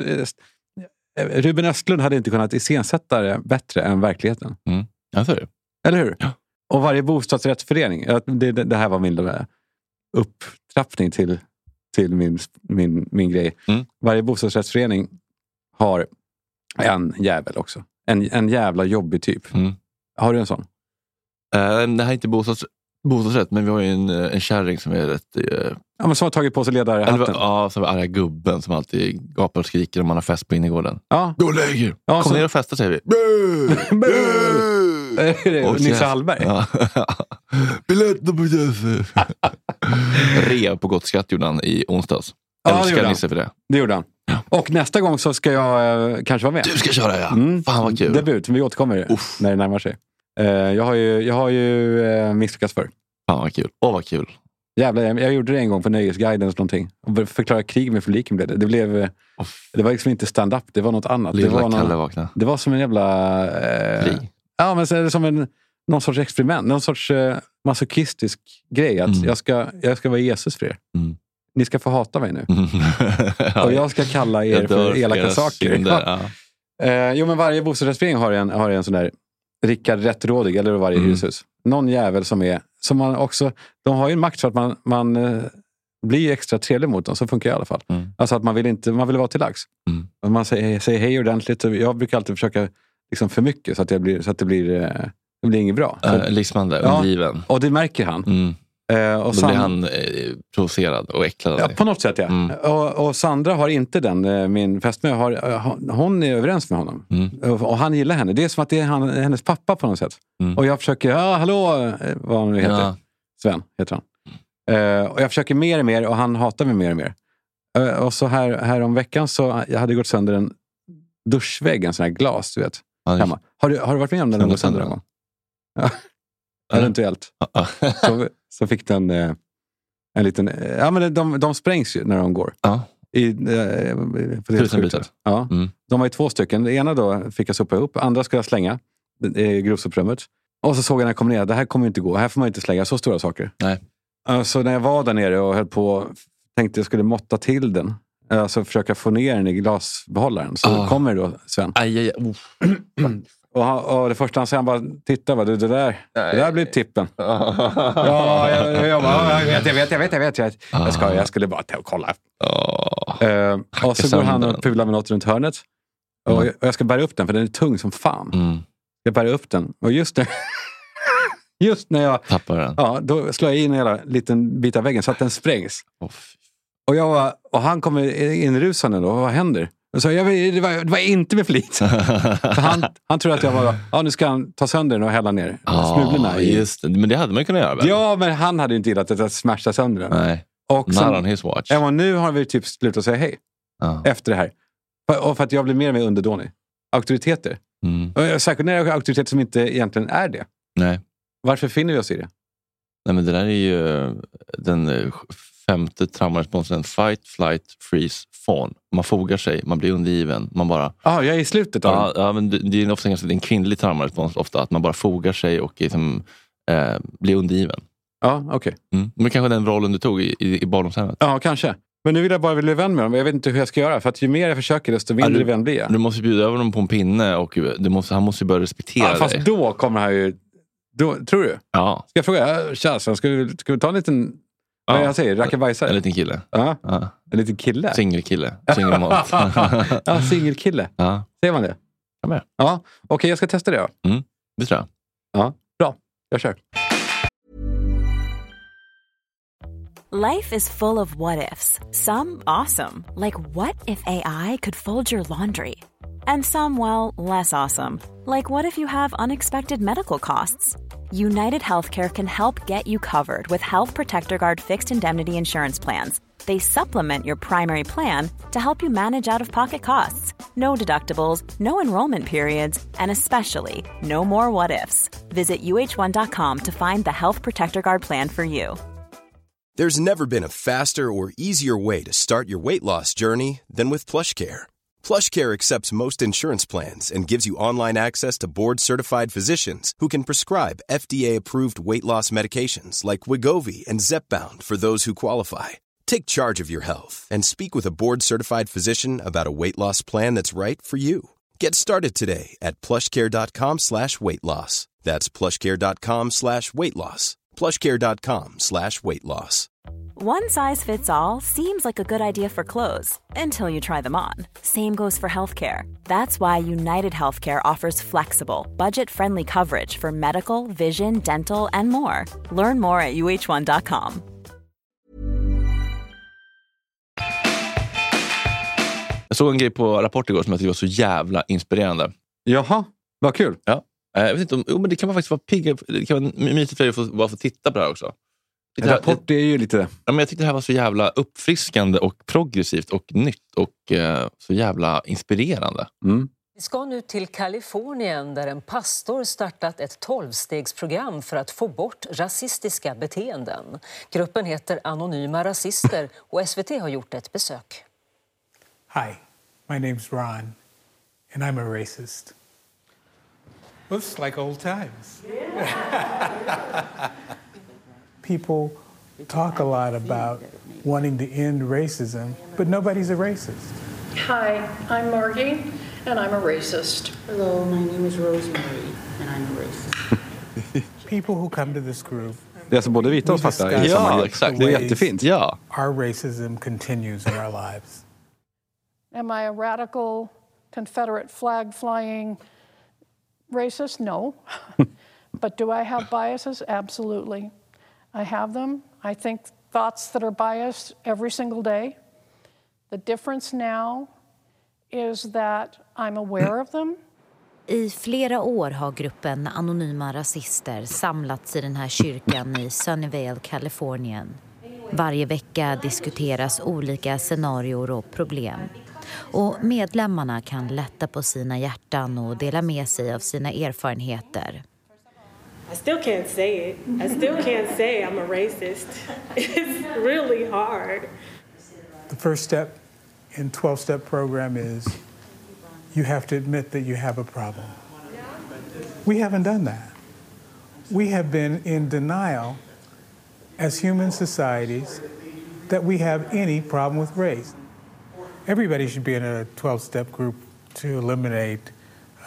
[SPEAKER 2] Ruben Östlund hade inte kunnat iscensätta det bättre än verkligheten.
[SPEAKER 1] Ja, så är det.
[SPEAKER 2] Eller hur?
[SPEAKER 1] Ja.
[SPEAKER 2] Och varje bostadsrättsförening. ja, Det, det, det här var min lilla upptrappning till, till min, min, min grej.
[SPEAKER 1] Mm.
[SPEAKER 2] Varje bostadsrättsförening har en jävel också. En, en jävla jobbig typ.
[SPEAKER 1] Mm.
[SPEAKER 2] Har du en sån?
[SPEAKER 1] Eh, Det här är inte bostads, bostadsrätt, men vi har ju en, eh, en kärring som är rätt... eh,
[SPEAKER 2] Ja, men som har tagit på sig
[SPEAKER 1] Eller,
[SPEAKER 2] ledarhatten.
[SPEAKER 1] ja, som är arga gubben som alltid gapar och skriker om man har fest på innergården.
[SPEAKER 2] Ja.
[SPEAKER 1] Gå och lägg er!
[SPEAKER 2] Ja,
[SPEAKER 1] Kom
[SPEAKER 2] så-
[SPEAKER 1] ner och festa säger vi.
[SPEAKER 2] Eh,
[SPEAKER 1] Och så-
[SPEAKER 2] Nisse Hallberg.
[SPEAKER 1] Oh, Ja. Biljetterna på Jesse. Rea på Gott skratt gjorde han i onsdags.
[SPEAKER 2] Ja, det gjorde
[SPEAKER 1] Älskar
[SPEAKER 2] han.
[SPEAKER 1] Nisse för det.
[SPEAKER 2] Det gjorde han. Och nästa gång så ska jag eh, kanske vara med.
[SPEAKER 1] Du ska köra ja!
[SPEAKER 2] Mm.
[SPEAKER 1] Fan vad kul.
[SPEAKER 2] Debut. Vi återkommer när det närmar sig. Eh, jag har ju, jag har ju eh, misslyckats förr.
[SPEAKER 1] Fan vad kul. Åh vad kul.
[SPEAKER 2] Jävlar, jag, jag gjorde det en gång på Nöjesguidens någonting. Och Förklara krig med publiken blev det. Det, blev, eh,
[SPEAKER 1] Åh,
[SPEAKER 2] det var liksom inte stand-up, det var något annat. Det
[SPEAKER 1] Lilla
[SPEAKER 2] var,
[SPEAKER 1] Kalle
[SPEAKER 2] någon,
[SPEAKER 1] vakna.
[SPEAKER 2] det var som en jävla... Eh,
[SPEAKER 1] Fri.
[SPEAKER 2] ja, men så är det som en, någon sorts experiment. Någon sorts eh, masochistisk grej. Att
[SPEAKER 1] Mm.
[SPEAKER 2] jag, ska, jag ska vara Jesus för er.
[SPEAKER 1] Mm.
[SPEAKER 2] Ni ska få hata mig nu.
[SPEAKER 1] Ja,
[SPEAKER 2] Och jag ska kalla er
[SPEAKER 1] jag dör
[SPEAKER 2] för elaka
[SPEAKER 1] era
[SPEAKER 2] saker.
[SPEAKER 1] synder, ja.
[SPEAKER 2] Eh, jo, men varje bostadsrättsförening har en, har en sån där Rickard Rättrådig, eller varje
[SPEAKER 1] Mm.
[SPEAKER 2] hyreshus. Någon jävel som är... Som man också, de har ju en makt så att man, man eh, blir extra trevlig mot dem. Så funkar det i alla fall.
[SPEAKER 1] Mm.
[SPEAKER 2] Alltså att man vill, inte, man vill vara till lags.
[SPEAKER 1] Mm.
[SPEAKER 2] Och Man säger, säger hej ordentligt. Och jag brukar alltid försöka liksom för mycket så att, jag blir, så att det, blir, eh, det blir inget bra. Så,
[SPEAKER 1] Eh, Lismande,
[SPEAKER 2] Ja.
[SPEAKER 1] undgiven.
[SPEAKER 2] och det märker han.
[SPEAKER 1] Mm.
[SPEAKER 2] Eh, och
[SPEAKER 1] Då
[SPEAKER 2] Sandra-
[SPEAKER 1] blir han eh, provocerad och äcklad av
[SPEAKER 2] Ja,
[SPEAKER 1] dig.
[SPEAKER 2] på något sätt ja.
[SPEAKER 1] Mm.
[SPEAKER 2] Och, och Sandra har inte den. eh, Min fästmö, har, eh, hon- hon är överens med honom.
[SPEAKER 1] Mm.
[SPEAKER 2] Och, och han gillar henne. Det är som att det är han, hennes pappa på något sätt.
[SPEAKER 1] Mm.
[SPEAKER 2] Och jag försöker, ja hallå, eh, vad han nu heter.
[SPEAKER 1] Ja.
[SPEAKER 2] Sven heter han. Eh, och jag försöker mer och mer och han hatar mig mer och mer. Eh, och så här, här om veckan så eh, jag hade gått sönder en duschvägg, en sån här glas du vet.
[SPEAKER 1] Ja, det-
[SPEAKER 2] Hemma. Har, du, har du varit med om den?
[SPEAKER 1] Sen
[SPEAKER 2] Den går
[SPEAKER 1] gått sönder
[SPEAKER 2] sönder någon gång? Ja. Eventuellt.
[SPEAKER 1] Ja.
[SPEAKER 2] Så, så fick den eh, en liten... eh, Ja, men de, de sprängs ju när de går.
[SPEAKER 1] Ja.
[SPEAKER 2] I, eh, på det helt
[SPEAKER 1] Tusenbytet.
[SPEAKER 2] sjukt. Ja.
[SPEAKER 1] Mm.
[SPEAKER 2] De var ju två stycken. Det ena då fick jag sopa ihop, andra skulle jag slänga i grovsoprummet. Och så såg jag när jag kom ner, det här kommer ju inte gå. Här får man ju inte slänga så stora saker.
[SPEAKER 1] Nej.
[SPEAKER 2] Eh, Så när jag var där nere och höll på, tänkte jag skulle måtta till den. eh, Alltså försöka få ner den i glasbehållaren. Så
[SPEAKER 1] Ah.
[SPEAKER 2] kommer då Sven.
[SPEAKER 1] Aj, aj, aj. Uff.
[SPEAKER 2] Och, han, och det första han säger, han bara, titta vad du, det där, det där blir tippen. Ja,
[SPEAKER 1] Ja,
[SPEAKER 2] jag, jag, bara, "Ja, jag vet, jag vet, jag vet, jag vet. Jag, vet.
[SPEAKER 1] Ah.
[SPEAKER 2] jag, ska, jag skulle bara ta och kolla. Eh, och så går
[SPEAKER 1] sönder
[SPEAKER 2] han
[SPEAKER 1] den.
[SPEAKER 2] och pular med något runt hörnet. Och
[SPEAKER 1] Mm.
[SPEAKER 2] jag, och jag ska bära upp den, för den är tung som fan.
[SPEAKER 1] Mm.
[SPEAKER 2] Jag bär upp den och just när, just när jag...
[SPEAKER 1] Tappar den.
[SPEAKER 2] Ja, då slår jag in en jävla liten bit av väggen så att den sprängs.
[SPEAKER 1] Åh, fy.
[SPEAKER 2] Och, jag var, och han kommer inrusande då. Vad händer? Jag sa, jag, vet- det, var, det var inte med flit. För han, han tror att jag var... Ja, nu ska han ta sönder den och hälla ner smulorna.
[SPEAKER 1] Ja,
[SPEAKER 2] i.
[SPEAKER 1] just det. Men det hade man ju kunnat göra väl?
[SPEAKER 2] Ja, men han hade ju inte gillat att jag smashade sönder den.
[SPEAKER 1] Nej.
[SPEAKER 2] Och
[SPEAKER 1] Not on
[SPEAKER 2] sen,
[SPEAKER 1] his watch.
[SPEAKER 2] ja, men nu har vi typ slutat säga hej
[SPEAKER 1] Ja.
[SPEAKER 2] efter det här. För- Och för att jag blir mer och mer underdånig. Auktoriteter.
[SPEAKER 1] Mm.
[SPEAKER 2] Och jag- Särskilt när det är auktoriteter som inte egentligen är det.
[SPEAKER 1] Nej.
[SPEAKER 2] Varför finner vi oss i det?
[SPEAKER 1] Nej, men det där är ju den eh, femte traumaresponsen. Fight, flight, freeze, fawn. Man fogar sig, man blir undergiven. Man bara...
[SPEAKER 2] Ja, Ah, jag är i slutet av
[SPEAKER 1] Ja, ja, men det, det är ofta ganska, det är en kvinnlig traumarespons, ofta, att man bara fogar sig och liksom, eh, blir undergiven.
[SPEAKER 2] Ja, okej.
[SPEAKER 1] Mm. Men kanske den rollen du tog i, i, i barndomshemmet.
[SPEAKER 2] Ja, kanske. Men nu vill jag bara bli vän med dem. Jag vet inte hur jag ska göra. För att ju mer jag försöker, desto mindre
[SPEAKER 1] Ja, du-
[SPEAKER 2] vän blir jag.
[SPEAKER 1] Du måste bjuda över honom på en pinne och du måste, han måste ju börja respektera
[SPEAKER 2] ja, fast
[SPEAKER 1] dig.
[SPEAKER 2] då kommer han ju... Då, tror du? Ska
[SPEAKER 1] Ja,
[SPEAKER 2] jag fråga? Ja, Tja, Sven, ska, vi, ska vi ta en liten...
[SPEAKER 1] Ja.
[SPEAKER 2] Vad jag säger?
[SPEAKER 1] en
[SPEAKER 2] Rackabajsare?
[SPEAKER 1] liten kille.
[SPEAKER 2] Ja,
[SPEAKER 1] Ja.
[SPEAKER 2] en liten kille?
[SPEAKER 1] Singelkille. Singelmat.
[SPEAKER 2] ja, singelkille.
[SPEAKER 1] ja,
[SPEAKER 2] Säger man det?
[SPEAKER 1] Ja, men.
[SPEAKER 2] Ja, okej. jag ska testa det då.
[SPEAKER 1] det tror jag.
[SPEAKER 2] Jag kör.
[SPEAKER 9] Life is full of what ifs. Some awesome, like what if AI could fold your laundry? And some, well, less awesome, like what if you have unexpected medical costs? United Healthcare can help get you covered with Health Protector Guard fixed indemnity insurance plans. They supplement your primary plan to help you manage out of pocket costs. No deductibles, no enrollment periods, and especially no more what ifs. Visit uh1.com to find the Health Protector Guard plan for you.
[SPEAKER 8] There's never been a faster or easier way to start your weight loss journey than with PlushCare. PlushCare accepts most insurance plans and gives you online access to board-certified physicians who can prescribe FDA-approved weight loss medications like Wigovi and Zepbound for those who qualify. Take charge of your health and speak with a board-certified physician about a weight loss plan that's right for you. Get started today at plushcare.com slash weight loss. That's plushcare.com slash weight loss. plushcare.com slash weight loss.
[SPEAKER 9] One size fits all seems like a good idea for clothes until you try them on. Same goes for healthcare. That's why United Healthcare offers flexible, budget friendly coverage for medical, vision, dental, and more. Learn more at uh1.com.
[SPEAKER 1] Jag såg en grej på Rapport igår som jag tyckte var så jävla inspirerande.
[SPEAKER 2] Jaha, vad kul.
[SPEAKER 1] Eh, Jag vet inte om, jo, men det kan man faktiskt vara pigg Det kan vara my- mysigt för dig att få, bara få titta på det här också. Det här, det,
[SPEAKER 2] Rapport är ju lite...
[SPEAKER 1] ja, men jag tyckte det här var så jävla uppfriskande och progressivt och nytt och eh, så jävla inspirerande.
[SPEAKER 2] Mm.
[SPEAKER 10] Vi ska nu till Kalifornien där en pastor startat ett tolvstegsprogram för att få bort rasistiska beteenden. Gruppen heter Anonyma rasister och SVT har gjort ett besök.
[SPEAKER 11] Hi, my name's Ron, and I'm a racist. Looks like old times. People talk a lot about wanting to end racism, but nobody's a racist.
[SPEAKER 12] Hi, I'm Margie, and I'm a racist. Hello, my name is Rosemary, and I'm a racist.
[SPEAKER 11] People who come to this group
[SPEAKER 2] Det är alltså både vita och svarta i samma grupp. Det är jättefint.
[SPEAKER 1] Ja.
[SPEAKER 11] our racism continues in our lives.
[SPEAKER 12] Am I a radical Confederate flag flying racist? No. but do I have biases? Absolutely. I have them. I think thoughts that are biased every single day. The difference now is that I'm aware of them.
[SPEAKER 13] I flera år har gruppen Anonyma Rasister samlats i den här kyrkan i Sunnyvale, Kalifornien. Varje vecka diskuteras olika scenarior och problem. Och medlemmarna kan lätta på sina hjärtan och dela med sig av sina erfarenheter.
[SPEAKER 14] I still can't say it. I still can't say I'm a racist. It's really hard.
[SPEAKER 11] The first step in 12 step program is you have to admit that you have a problem. We haven't done that. We have been in denial as human societies that we have any problem with race. Everybody should be in a 12 step group to eliminate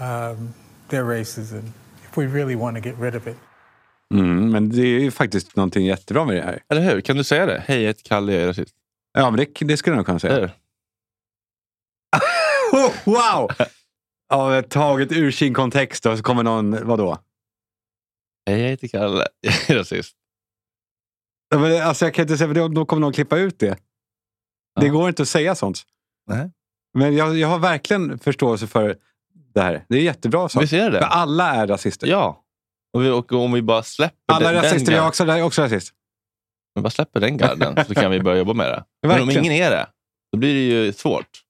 [SPEAKER 11] um, their racism if we really want to get rid of it.
[SPEAKER 2] Mm, men det är ju faktiskt någonting jättebra med det här.
[SPEAKER 1] Eller hur? Kan du säga det? Hej, jag heter Kalle, jag är rasist.
[SPEAKER 2] Ja, men det, det skulle jag nog kunna säga. wow! Ja, taget ur sin kontext och så kommer någon, vadå?
[SPEAKER 1] Hej, jag heter Kalle, jag är rasist.
[SPEAKER 2] Ja, men Alltså, jag kan inte säga, för då- då kommer någon klippa ut det. Det går inte att säga sånt.
[SPEAKER 1] Nej.
[SPEAKER 2] Men jag, jag har verkligen förståelse för det här. Det är jättebra. Så.
[SPEAKER 1] Visst är det?
[SPEAKER 2] För alla är rasister.
[SPEAKER 1] Ja. Och, vi, och om vi bara släpper
[SPEAKER 2] Typ. Alla
[SPEAKER 1] den,
[SPEAKER 2] är rasister.
[SPEAKER 1] den
[SPEAKER 2] Jag är
[SPEAKER 1] garden,
[SPEAKER 2] också, jag är också rasist.
[SPEAKER 1] om vi bara släpper den garden så kan vi börja jobba med det. Men om
[SPEAKER 2] Verkligen.
[SPEAKER 1] ingen är det, då blir det ju svårt.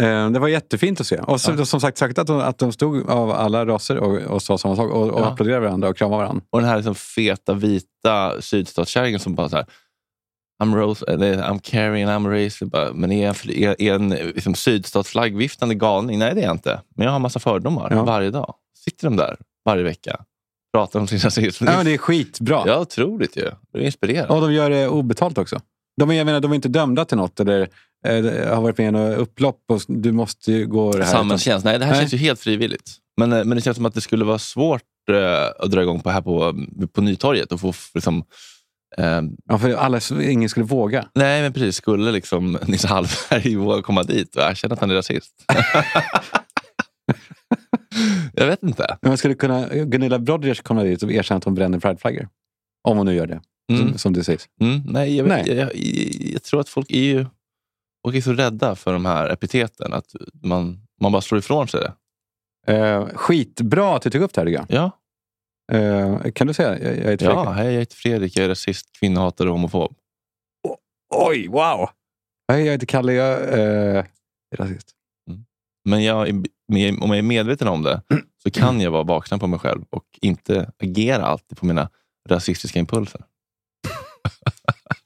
[SPEAKER 2] Eh, Det var jättefint att se. Och så, som sagt, säkert att de, att de stod av alla raser och, och sa samma sak. Och, och
[SPEAKER 1] Ja.
[SPEAKER 2] applåderade varandra och kramade varandra.
[SPEAKER 1] Och den här liksom feta vita sydstatskärringen som bara så här, I'm, Rose, eller, I'm Carrie and I'm racist. Bara, Men är jag en, är, är en liksom, sydstatsflaggviftande galning? Nej, det är jag inte. Men jag har massa fördomar varje dag. Sitter de där varje vecka pratar om sin rasism.
[SPEAKER 2] Ja, men det är skitbra.
[SPEAKER 1] Ja, otroligt ju. Det är inspirerande.
[SPEAKER 2] Och de gör det obetalt också. De är, jag menar, de är inte dömda till något eller eh, har varit med i något upplopp. Och s- du måste ju gå det här.
[SPEAKER 1] Samhällstjänst. Nej, det här
[SPEAKER 2] Nej.
[SPEAKER 1] känns ju helt frivilligt. Men, eh, men det känns som att det skulle vara svårt eh, att dra igång på här på, på Nytorget. Och få, f- liksom,
[SPEAKER 2] ja, för alla, ingen skulle våga.
[SPEAKER 1] Nej, men precis. Skulle liksom Nils Hallberg våga komma dit och erkänna att han är rasist? jag vet inte.
[SPEAKER 2] Men Man skulle kunna, Gunilla Brodgers kommer dit och erkänna att hon bränner prideflaggor. Om hon nu gör det. Som, som det sägs.
[SPEAKER 1] Mm, nej, jag, vet-
[SPEAKER 2] Nej.
[SPEAKER 1] Jag, jag, jag tror att folk är ju folk är så rädda för de här epiteten att man, man bara slår ifrån sig det.
[SPEAKER 2] Eh, skitbra att du tog upp det här, Dugan.
[SPEAKER 1] Ja.
[SPEAKER 2] Eh, kan du säga? Jag, jag är
[SPEAKER 1] Ja, hej, jag heter Fredrik, jag är rasist, kvinnohatare och homofob.
[SPEAKER 2] Oj, wow! Hej, jag heter Kalle. Jag eh, är rasist.
[SPEAKER 1] Men, jag, är- men om jag är medveten om det så kan jag vara vaksam på mig själv och inte agera alltid på mina rasistiska impulser.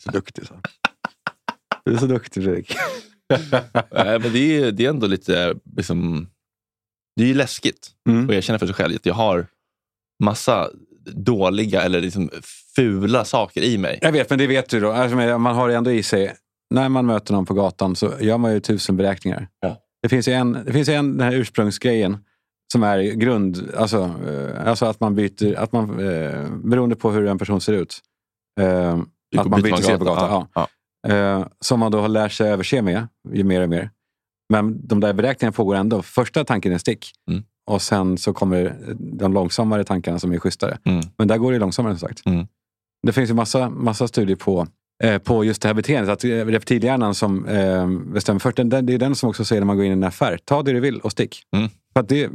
[SPEAKER 2] så duktig. Så. Du är så duktig, Fredrik.
[SPEAKER 1] Nej, men det, är, ju- det är ändå lite... Liksom, det är ju läskigt
[SPEAKER 2] Mm.
[SPEAKER 1] och jag känner för sig själv att jag har massa dåliga eller liksom fula saker i mig.
[SPEAKER 2] Jag vet, men det vet du då. Alltså, men Man har det ändå i sig. När man möter någon på gatan så gör man ju tusen beräkningar. Det finns ju en, det finns ju en den här ursprungsgrejen som är grund, alltså, eh, alltså att man byter, att man, eh, beroende på hur en person ser ut, eh, att man
[SPEAKER 1] byter
[SPEAKER 2] byter
[SPEAKER 1] man
[SPEAKER 2] sida på
[SPEAKER 1] gata.
[SPEAKER 2] gatan. Ja. Eh, som man då har lärt sig överse med, ju mer och mer. Men de där beräkningarna pågår ändå. Första tanken är stick. Och sen så kommer de långsammare tankarna som är schysstare. Men där går det långsammare som sagt. Det finns ju massa, massa studier på, eh, på just det här beteendet. Att eh, reptilhjärnan som eh, bestämmer först. Den, den, det är den som också säger när man går in i en affär. Ta det du vill och stick. För att det,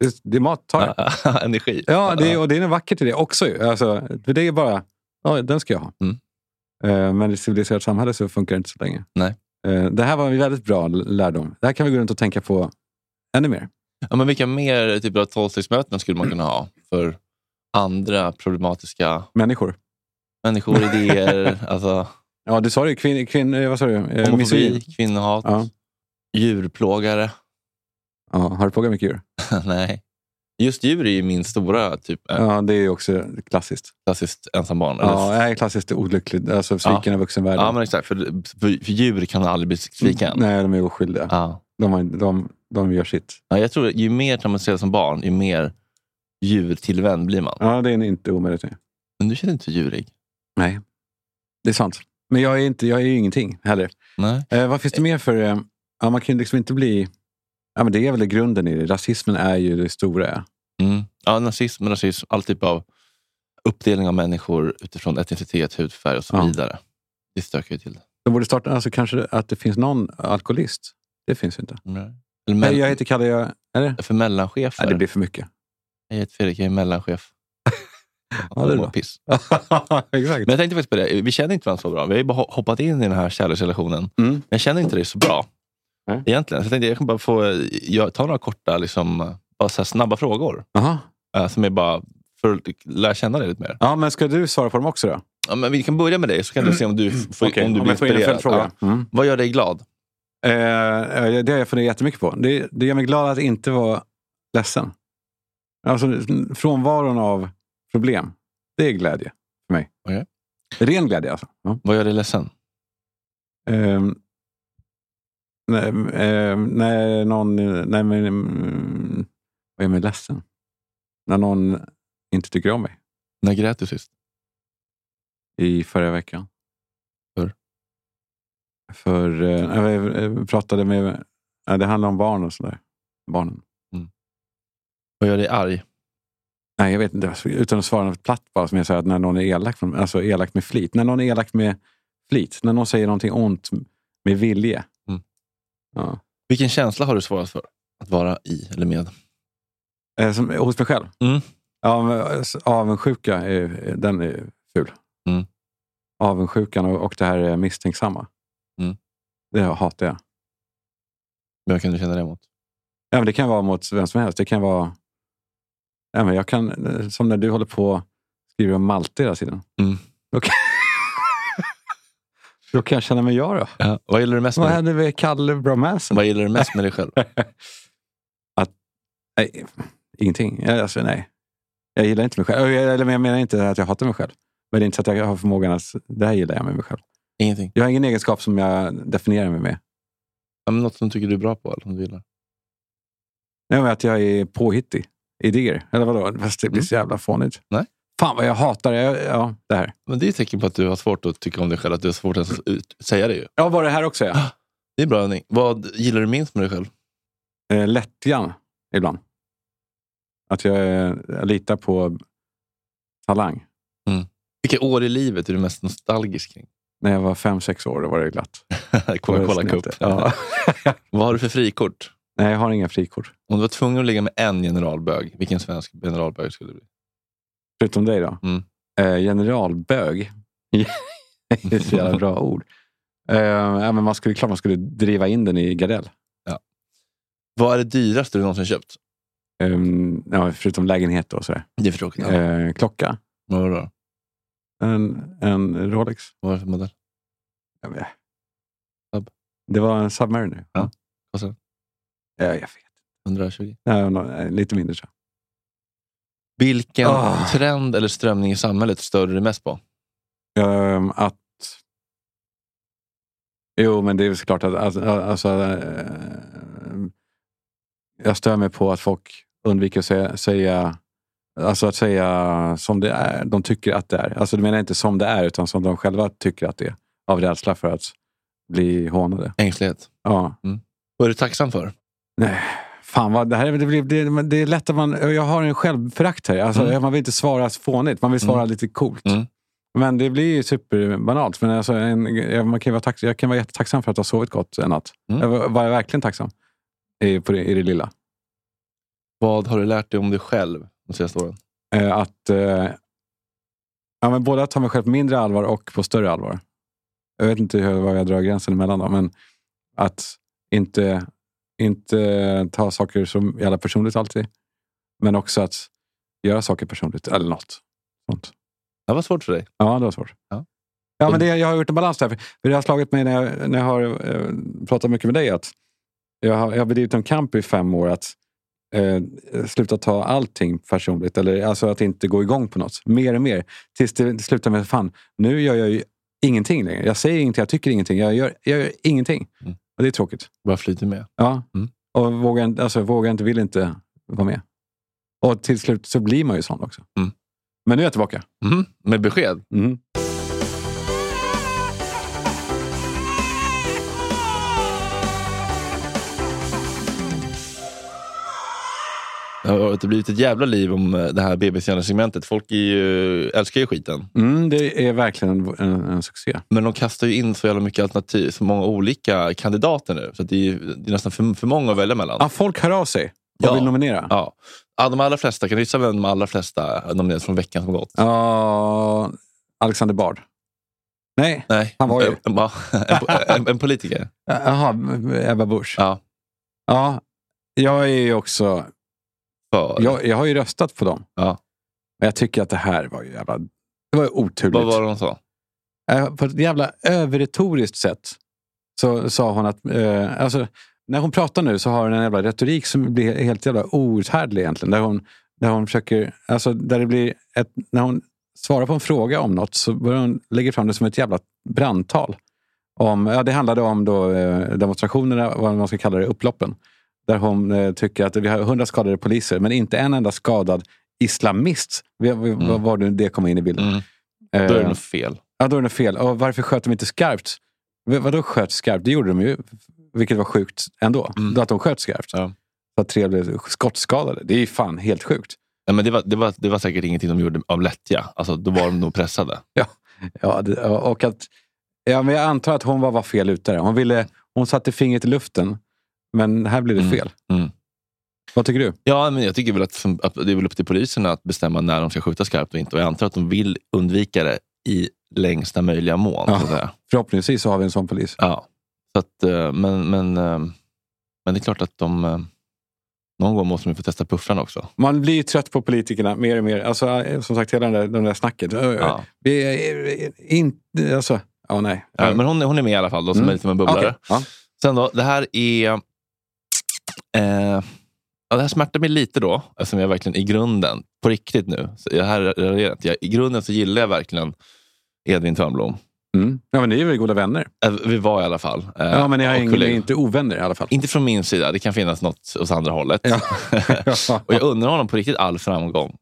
[SPEAKER 2] det, det är mat. Ta det.
[SPEAKER 1] Energi.
[SPEAKER 2] Ja, det, är- och det är något vackert i det också. ju. Alltså, för det är bara, ja, den ska jag ha.
[SPEAKER 1] Mm.
[SPEAKER 2] Eh, Men i ett civiliserat samhälle så funkar det inte så länge.
[SPEAKER 1] Nej.
[SPEAKER 2] Eh, Det här var en väldigt bra l- lärdom. Det här kan vi gå runt och tänka på ännu mer.
[SPEAKER 1] Ja, men vilka mer typer av tolvstegsmöten skulle man kunna ha för andra problematiska
[SPEAKER 2] Människor.
[SPEAKER 1] människor, idéer? alltså,
[SPEAKER 2] Ja, du sa det. Kvin, kvin, eh, vad sa du? Eh,
[SPEAKER 1] homofobi,
[SPEAKER 2] misogyn.
[SPEAKER 1] kvinnohat,
[SPEAKER 2] Ja.
[SPEAKER 1] djurplågare.
[SPEAKER 2] Ja, har du plågat mycket djur?
[SPEAKER 1] Nej. Just djur är ju min stora... typ.
[SPEAKER 2] Ja, det är ju också klassiskt.
[SPEAKER 1] Klassiskt ensam barn. eller-
[SPEAKER 2] Ja, nej, klassiskt olyckligt. Alltså sviken
[SPEAKER 1] Ja.
[SPEAKER 2] av vuxenvärlden. Mm.
[SPEAKER 1] Ja, men exakt. För, för, för djur kan aldrig bli sviken.
[SPEAKER 2] Nej, de är oskyldiga. De, har- de, de gör sitt.
[SPEAKER 1] Ja, jag tror att ju mer traumatiserad som barn, ju mer djurtillvänd blir man.
[SPEAKER 2] Ja, det är inte omöjligt.
[SPEAKER 1] Men du känner inte djurig?
[SPEAKER 2] Nej, det är sant. Men jag är, inte, jag är ju ingenting heller.
[SPEAKER 1] Nej.
[SPEAKER 2] Eh, vad finns det mer för... Eh, ja, man kan ju liksom inte bli... Ja, men det är väl i grunden i det. Rasismen är ju det stora.
[SPEAKER 1] Mm. Ja, nazism, rasism, all typ av uppdelning av människor utifrån etnicitet, hudfärg och så
[SPEAKER 2] Ja.
[SPEAKER 1] vidare. Det stökar ju till det.
[SPEAKER 2] De borde starta, alltså kanske att det finns någon alkoholist. Det finns ju inte.
[SPEAKER 1] Nej.
[SPEAKER 2] Nej, jag heter Kalle, jag... Eller?
[SPEAKER 1] För mellanchefer.
[SPEAKER 2] Nej, det blir för mycket.
[SPEAKER 1] Jag heter Fredrik, jag är mellanchef.
[SPEAKER 2] Ja, det är bra.
[SPEAKER 1] piss.
[SPEAKER 2] Exakt.
[SPEAKER 1] Men jag tänkte faktiskt på det, vi känner inte varandra så bra. Vi har ju bara ho- hoppat in i den här kärleksrelationen.
[SPEAKER 2] Men
[SPEAKER 1] jag känner inte dig så bra. Egentligen. Så jag tänkte jag kan bara få eh, jag, ta några korta, liksom, bara så här snabba frågor. Eh, som är bara för att lära känna dig lite mer.
[SPEAKER 2] Ja, men ska du svara på dem också då?
[SPEAKER 1] Ja, men vi kan börja med dig, så kan du se om du, f- får,
[SPEAKER 2] Mm. Okej,
[SPEAKER 1] om du
[SPEAKER 2] om
[SPEAKER 1] blir
[SPEAKER 2] jag får in en
[SPEAKER 1] inspirerad.
[SPEAKER 2] följdfråga.
[SPEAKER 1] Vad gör dig glad?
[SPEAKER 2] Eh, eh, det har jag funderat jättemycket på. Det, det gör mig glad att inte vara ledsen. Alltså, n- frånvaron av problem, det är glädje för mig.
[SPEAKER 1] Okej.
[SPEAKER 2] Ren glädje alltså. Ja.
[SPEAKER 1] Vad gör dig ledsen?
[SPEAKER 2] Ehm, nej, ehm, när någon... Nej, men, mm, vad gör mig ledsen? När någon inte tycker om mig.
[SPEAKER 1] När grät du sist?
[SPEAKER 2] I förra veckan.
[SPEAKER 1] För?
[SPEAKER 2] För... eh, nej, jag eh, pratade med... ja, det handlar om barn och sådär. Barnen.
[SPEAKER 1] Vad gör dig arg?
[SPEAKER 2] Nej, jag vet inte. Utan att svara något platt bara, som jag säger, att när någon är elak, från- alltså elak med flit. När någon är elak med flit. När någon säger någonting ont med vilje. Ja.
[SPEAKER 1] Vilken känsla har du svarat för att vara i eller med?
[SPEAKER 2] Eh, som, hos mig själv?
[SPEAKER 1] Mm.
[SPEAKER 2] Ja, men, s- avundsjuka, är, den är ful.
[SPEAKER 1] Mm.
[SPEAKER 2] Avundsjukan och, och det här eh, misstänksamma.
[SPEAKER 1] Mm.
[SPEAKER 2] Det hatar jag.
[SPEAKER 1] Vem kan du känna det mot?
[SPEAKER 2] Ja, men det kan vara mot vem som helst. Det kan vara... Ja, men jag kan, eh, som när du håller på och skriver om Malte hela tiden.
[SPEAKER 1] Mm.
[SPEAKER 2] Då, kan, då kan jag känna mig jag då.
[SPEAKER 1] Ja, vad gillar du mest
[SPEAKER 2] Vad
[SPEAKER 1] med dig?
[SPEAKER 2] hände med Kalle Bromansen?
[SPEAKER 1] Vad gillar du mest med dig själv?
[SPEAKER 2] Att, nej, ingenting. Jag- Alltså, nej. Jag gillar inte mig själv. Jag- Eller men jag menar inte att jag hatar mig själv. Men det är inte så att jag har förmågan att... Det här gillar jag med mig själv.
[SPEAKER 1] Ingenting?
[SPEAKER 2] Jag har ingen egenskap som jag definierar mig med.
[SPEAKER 1] Ja, men något som du tycker du är bra på eller som du gillar?
[SPEAKER 2] Nej, men att jag är påhittig. Idéer. Eller vadå? Fast det blir så jävla fånigt.
[SPEAKER 1] Mm. Nej.
[SPEAKER 2] Fan vad jag hatar det. Jag- Ja, det här.
[SPEAKER 1] Men det är ett tecken på att du har svårt att tycka om dig själv, att du har svårt att ut- säga det ju.
[SPEAKER 2] Ja, var det här också ja.
[SPEAKER 1] Det är en bra övning. Vad gillar du minst med dig själv?
[SPEAKER 2] Eh, Lättjan ibland. Att jag, eh, jag litar på talang.
[SPEAKER 1] Vilka år i livet är du mest nostalgisk kring?
[SPEAKER 2] När jag var fem, sex år då var det glatt.
[SPEAKER 1] Coca-Cola Cup.
[SPEAKER 2] Ja.
[SPEAKER 1] Vad har du för frikort?
[SPEAKER 2] Nej, jag har inga frikort.
[SPEAKER 1] Om du var tvungen att ligga med en generalbög, vilken svensk generalbög skulle det bli?
[SPEAKER 2] Förutom dig då?
[SPEAKER 1] Mm.
[SPEAKER 2] Eh, generalbög. det är så jävla bra ord. Eh, ja, men man skulle, klart man skulle driva in den i Gardell.
[SPEAKER 1] Vad är det dyraste du någonsin köpt?
[SPEAKER 2] Eh, ja, förutom lägenhet då. Sådär.
[SPEAKER 1] Det är för tråkigt.
[SPEAKER 2] Eh, klocka.
[SPEAKER 1] Vad var det då?
[SPEAKER 2] En, en Rolex.
[SPEAKER 1] Vad var det för modell?
[SPEAKER 2] Ja, men- Det var en Submariner.
[SPEAKER 1] Ja. Och sen?
[SPEAKER 2] Ja, jag vet.
[SPEAKER 1] 120?
[SPEAKER 2] Ja, nå- eh, lite mindre så.
[SPEAKER 1] Vilken
[SPEAKER 2] Ah.
[SPEAKER 1] trend eller strömning i samhället stör du dig mest på?
[SPEAKER 2] Ehm, att... Jo, men det är väl såklart att... Alltså, alltså, ehm, jag stör mig på att folk undviker att säga, säga, alltså att säga som det är. De tycker att det är. Alltså, du menar jag inte som det är, utan som de själva tycker att det är. Av rädsla för att bli hånade.
[SPEAKER 1] Ängslighet?
[SPEAKER 2] Ja.
[SPEAKER 1] Vad är du tacksam för?
[SPEAKER 2] Nej, fan vad, det, här, är- det, blir, det, men det är lätt att man... Jag har en självförakt här. Alltså,
[SPEAKER 1] Mm.
[SPEAKER 2] Man vill inte svara fånigt, man vill svara lite coolt. Men det blir ju superbanalt. Men alltså, en, jag, man kan ju vara tack, jag kan vara jättetacksam för att ha sovit gott en natt. Jag var, var jag verkligen tacksam i, på det, i det lilla.
[SPEAKER 1] Vad har du lärt dig om dig själv de senaste åren?
[SPEAKER 2] Eh, att, eh, ja, men både att ta mig själv på mindre allvar och på större allvar. Jag vet inte hur, var jag drar gränsen emellan, då, men att inte, inte ta saker som jävla personligt alltid. Men också att göra saker personligt, eller något. Sånt.
[SPEAKER 1] Det var svårt för dig.
[SPEAKER 2] Ja, det var svårt.
[SPEAKER 1] Ja.
[SPEAKER 2] Ja, men det, jag har gjort en balans där. För det har slagit mig när jag, när jag har eh, pratat mycket med dig. att jag har, jag har bedrivit en kamp i fem år att eh, sluta ta allting personligt. Eller alltså att inte gå igång på något. Mer och mer. Tills det slutar med fan, nu gör jag ju ingenting längre. Jag säger ingenting, jag tycker ingenting. Jag gör, jag gör ingenting. Och det är tråkigt.
[SPEAKER 1] Bara flyter med.
[SPEAKER 2] Ja. Och vågar, inte- alltså, vågar inte, vill inte vara med. Och till slut så blir man ju sån också. Men nu är jag tillbaka.
[SPEAKER 1] Med besked.
[SPEAKER 2] Mm.
[SPEAKER 1] Det har varit- det har blivit ett jävla liv om eh, det här BB-segmentet. Folk är ju, eh, älskar ju skiten.
[SPEAKER 2] Mm, det är verkligen en, en, en succé.
[SPEAKER 1] Men de kastar ju in så jävla mycket alternativ, så många olika kandidater nu. Så att det, är, ju- det är nästan för, för många att välja mellan.
[SPEAKER 2] Ja, folk hör av sig och vill nominera.
[SPEAKER 1] Ja. ja, de allra flesta. Kan du gissa vem de allra flesta nominerades från veckan som gått?
[SPEAKER 2] Ja, Alexander Bard. Nej,
[SPEAKER 1] Nej. Eh,
[SPEAKER 2] han var ju...
[SPEAKER 1] En, ja, en, en, en politiker.
[SPEAKER 2] Jaha, Ebba Busch.
[SPEAKER 1] Ja.
[SPEAKER 2] ja. Jag är ju också...
[SPEAKER 1] För.
[SPEAKER 2] Jag, jag har ju röstat på dem.
[SPEAKER 1] Ja.
[SPEAKER 2] Men jag tycker att det här var ju jävla... Det var ju oturligt.
[SPEAKER 1] Vad var det hon sa?
[SPEAKER 2] Eh, På ett jävla överretoriskt sätt så sa hon att... Eh, alltså, när hon pratar nu så har hon en jävla retorik som blir helt jävla outhärdlig egentligen. Där hon, där hon försöker... Alltså, där det blir ett, när hon svarar på en fråga om något så börjar hon lägga fram det som ett jävla brandtal. Om, ja, det handlade om då, eh, demonstrationerna, vad man ska kalla det, upploppen. Där hon eh, tycker att vi har hundra skadade poliser, men inte en enda skadad islamist. Vi, vi, Vad var det det kom in i bilden?
[SPEAKER 1] Mm. Då är det
[SPEAKER 2] Eh,
[SPEAKER 1] nog fel.
[SPEAKER 2] Ja, då är det fel. Och varför sköt de inte skarpt? V- Vadå sköt skarpt? Det gjorde de ju, vilket var sjukt ändå.
[SPEAKER 1] Mm.
[SPEAKER 2] Att de sköt skarpt. Så att tre blev skottskadade. Det är ju fan helt sjukt.
[SPEAKER 1] Nej, men det, var, det, var, det var säkert ingenting de gjorde av lättja. Alltså, då var de nog pressade.
[SPEAKER 2] Ja, ja, det, och att, ja men jag antar att hon var, var fel ute. där. Hon, ville, hon satte fingret i luften, men här blev det fel.
[SPEAKER 1] Mm.
[SPEAKER 2] Vad tycker du?
[SPEAKER 1] Ja, men jag tycker väl att, som- att det är väl upp till poliserna att bestämma när de ska skjuta skarpt och inte. Och jag antar att de vill undvika det i längsta möjliga mån. Så att säga.
[SPEAKER 2] Förhoppningsvis så har vi en sån polis.
[SPEAKER 1] Ja. Så att, eh, men, men, eh, men det är klart att de... eh, Någon gång måste de ju få testa puffran också.
[SPEAKER 2] Man blir ju trött på politikerna mer och mer. Alltså, eh, som sagt, hela den där, den där snacket. Ö, ö,
[SPEAKER 1] Ja.
[SPEAKER 2] Vi är inte... Alltså, ja, nej.
[SPEAKER 1] Ja, men hon, hon är med i alla fall, då, som
[SPEAKER 2] Mm.
[SPEAKER 1] är lite av en bubblare.
[SPEAKER 2] Okej, ja.
[SPEAKER 1] Sen då, det här är... Eh, ja, det här smärtar mig lite då, eftersom jag verkligen i grunden, på riktigt nu, så jag här, jag, i grunden så gillar jag verkligen Edvin Törnblom.
[SPEAKER 2] Mm. Ja, men ni är väl goda vänner?
[SPEAKER 1] Eh, Vi var i alla fall. eh,
[SPEAKER 2] Ja, men ni har
[SPEAKER 1] och
[SPEAKER 2] ingen-
[SPEAKER 1] kollegor.
[SPEAKER 2] ni är inte ovänner i alla fall.
[SPEAKER 1] Inte från min sida. Det kan finnas något åt andra hållet. och jag undrar honom på riktigt all framgång.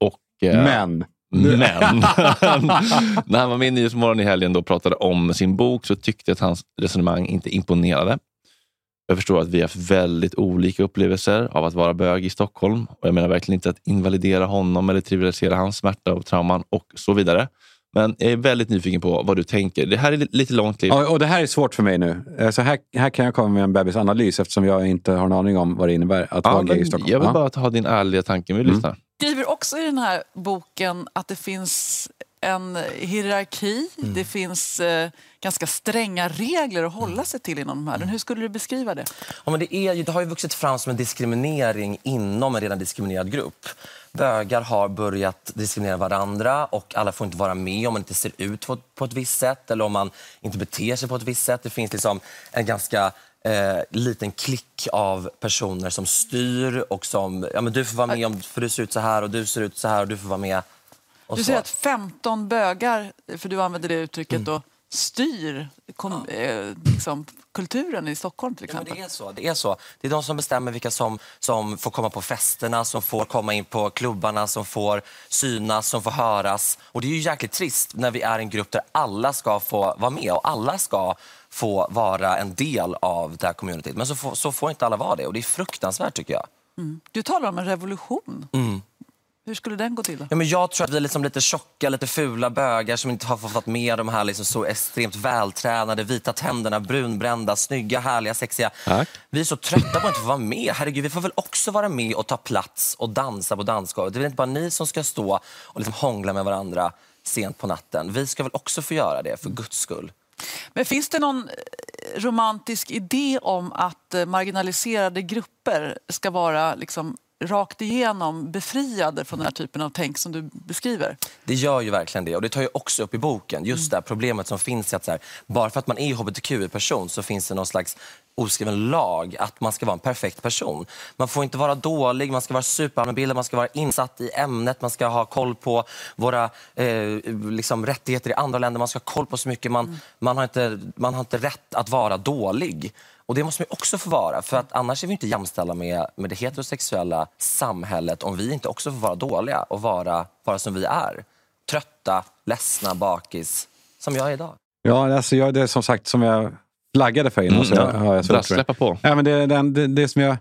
[SPEAKER 1] Och, eh,
[SPEAKER 2] Men.
[SPEAKER 1] Men. När han var med i Nyhetsmorgon i helgen och pratade om sin bok så tyckte jag att hans resonemang inte imponerade. Jag förstår att vi har haft väldigt olika upplevelser av att vara bög i Stockholm. Och Jag menar verkligen inte att invalidera honom eller trivialisera hans smärta och trauman och så vidare. Men jag är väldigt nyfiken på vad du tänker. Det här är li- lite långt klipp.
[SPEAKER 2] Ja, och det här är svårt för mig nu. Eh, Så här, här kan jag komma med en bebisanalys eftersom jag inte har en aning om vad det innebär att
[SPEAKER 1] Ja,
[SPEAKER 2] vara gay i
[SPEAKER 1] men
[SPEAKER 2] Stockholm.
[SPEAKER 1] jag vill
[SPEAKER 2] Ja. Mm.
[SPEAKER 1] bara ha din ärliga tanke. Vi lyssnar.
[SPEAKER 15] skriver också i den här boken att det finns en hierarki. Det finns eh, ganska stränga regler att hålla sig till inom de här. Men Hur skulle du beskriva det?
[SPEAKER 16] Ja, men det, är ju, det har ju vuxit fram som en diskriminering inom en redan diskriminerad grupp. Bögar har börjat diskriminera varandra och alla får inte vara med om man inte ser ut på, på ett visst sätt eller om man inte beter sig på ett visst sätt. Det finns liksom en ganska eh, liten klick av personer som styr och som... Ja, men du får vara med om, för du ser ut så här och du ser ut så här och du får vara med. Och
[SPEAKER 15] Du
[SPEAKER 16] så.
[SPEAKER 15] säger att 15 bögar, för du använder det uttrycket, då, styr kom, eh, liksom, kulturen i Stockholm till
[SPEAKER 16] Ja, men
[SPEAKER 15] exempel.
[SPEAKER 16] det är så. Det är så. Det är de som bestämmer vilka som, som får komma på festerna, som får komma in på klubbarna, som får synas, som får höras. Och det är ju jäkligt trist när vi är en grupp där alla ska få vara med och alla ska få vara en del av det här communityt. Men så får, så får inte alla vara det och det är fruktansvärt tycker jag. Mm.
[SPEAKER 15] Mm. Du talar om en revolution. Hur skulle den gå till? Då?
[SPEAKER 16] Ja, men jag tror att vi är liksom lite tjocka, lite fula bögar som inte har fått vara med de här liksom så extremt vältränade, vita tänderna, brunbrända, snygga, härliga, sexiga. Vi är så trötta på att inte få vara med. Herregud, vi får väl också vara med och ta plats och dansa på dansgolvet. Det är väl inte bara ni som ska stå och liksom hångla med varandra sent på natten. Vi ska väl också få göra det, för guds skull.
[SPEAKER 15] Men finns det någon eh, romantisk idé om att eh, marginaliserade grupper ska vara liksom rakt igenom befriade från den här typen av tänk som du beskriver?
[SPEAKER 16] Det gör ju verkligen det. Och det tar ju också upp i boken. Just
[SPEAKER 17] Mm.
[SPEAKER 16] det här problemet som finns i att så här, bara för att man är hbtq-person så finns det någon slags oskriven lag att man ska vara en perfekt person. Man får inte vara dålig, man ska vara superallmänbildad, man ska vara insatt i ämnet, man ska ha koll på våra eh, liksom, rättigheter i andra länder, man ska ha koll på så mycket. Man,
[SPEAKER 17] Mm.
[SPEAKER 16] man, har inte, man har inte rätt att vara dålig. Och det måste man ju också få vara, för att annars är vi inte jämställda med, med det heterosexuella samhället om vi inte också får vara dåliga och vara, vara som vi är. Trötta, ledsna, bakis, som jag är idag.
[SPEAKER 2] Ja, alltså jag, det är som sagt som jag flaggade för innan.
[SPEAKER 16] Mm,
[SPEAKER 2] så jag,
[SPEAKER 16] ja.
[SPEAKER 2] har jag svårt för det.
[SPEAKER 1] Brasklappa på.
[SPEAKER 2] Ja, men det, är den, det, det som jag...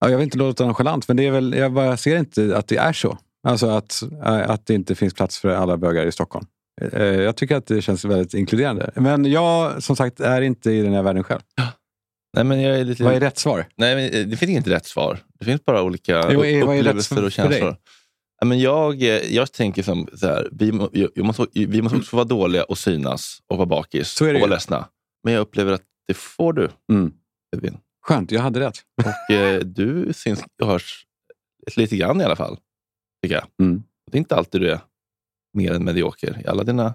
[SPEAKER 2] Ja, jag vill inte låta nonchalant, men det är väl, jag bara ser inte att det är så. Alltså att, eh, att det inte finns plats för alla bögar i Stockholm. Eh, Jag tycker att det känns väldigt inkluderande. Men jag, som sagt, är inte i den här världen själv.
[SPEAKER 1] Nej, men jag är lite...
[SPEAKER 2] Vad är rätt svar?
[SPEAKER 1] Nej, men eh, det finns inget rätt svar. Det finns bara olika
[SPEAKER 2] Jo, eh, vad är rätt
[SPEAKER 1] upplevelser
[SPEAKER 2] för-
[SPEAKER 1] och
[SPEAKER 2] för dig?
[SPEAKER 1] känslor. Ja, men jag, eh, jag tänker som så här, vi, må- jag- jag måste, vi måste också få vara dåliga och synas och vara bakis och vara ledsna. Men jag upplever att det får du,
[SPEAKER 2] Mm.
[SPEAKER 1] Edvin.
[SPEAKER 2] Skönt, jag hade rätt.
[SPEAKER 1] Och eh, du syns och hörs lite grann i alla fall, tycker jag. Det är inte alltid du är mer än medioker i alla dina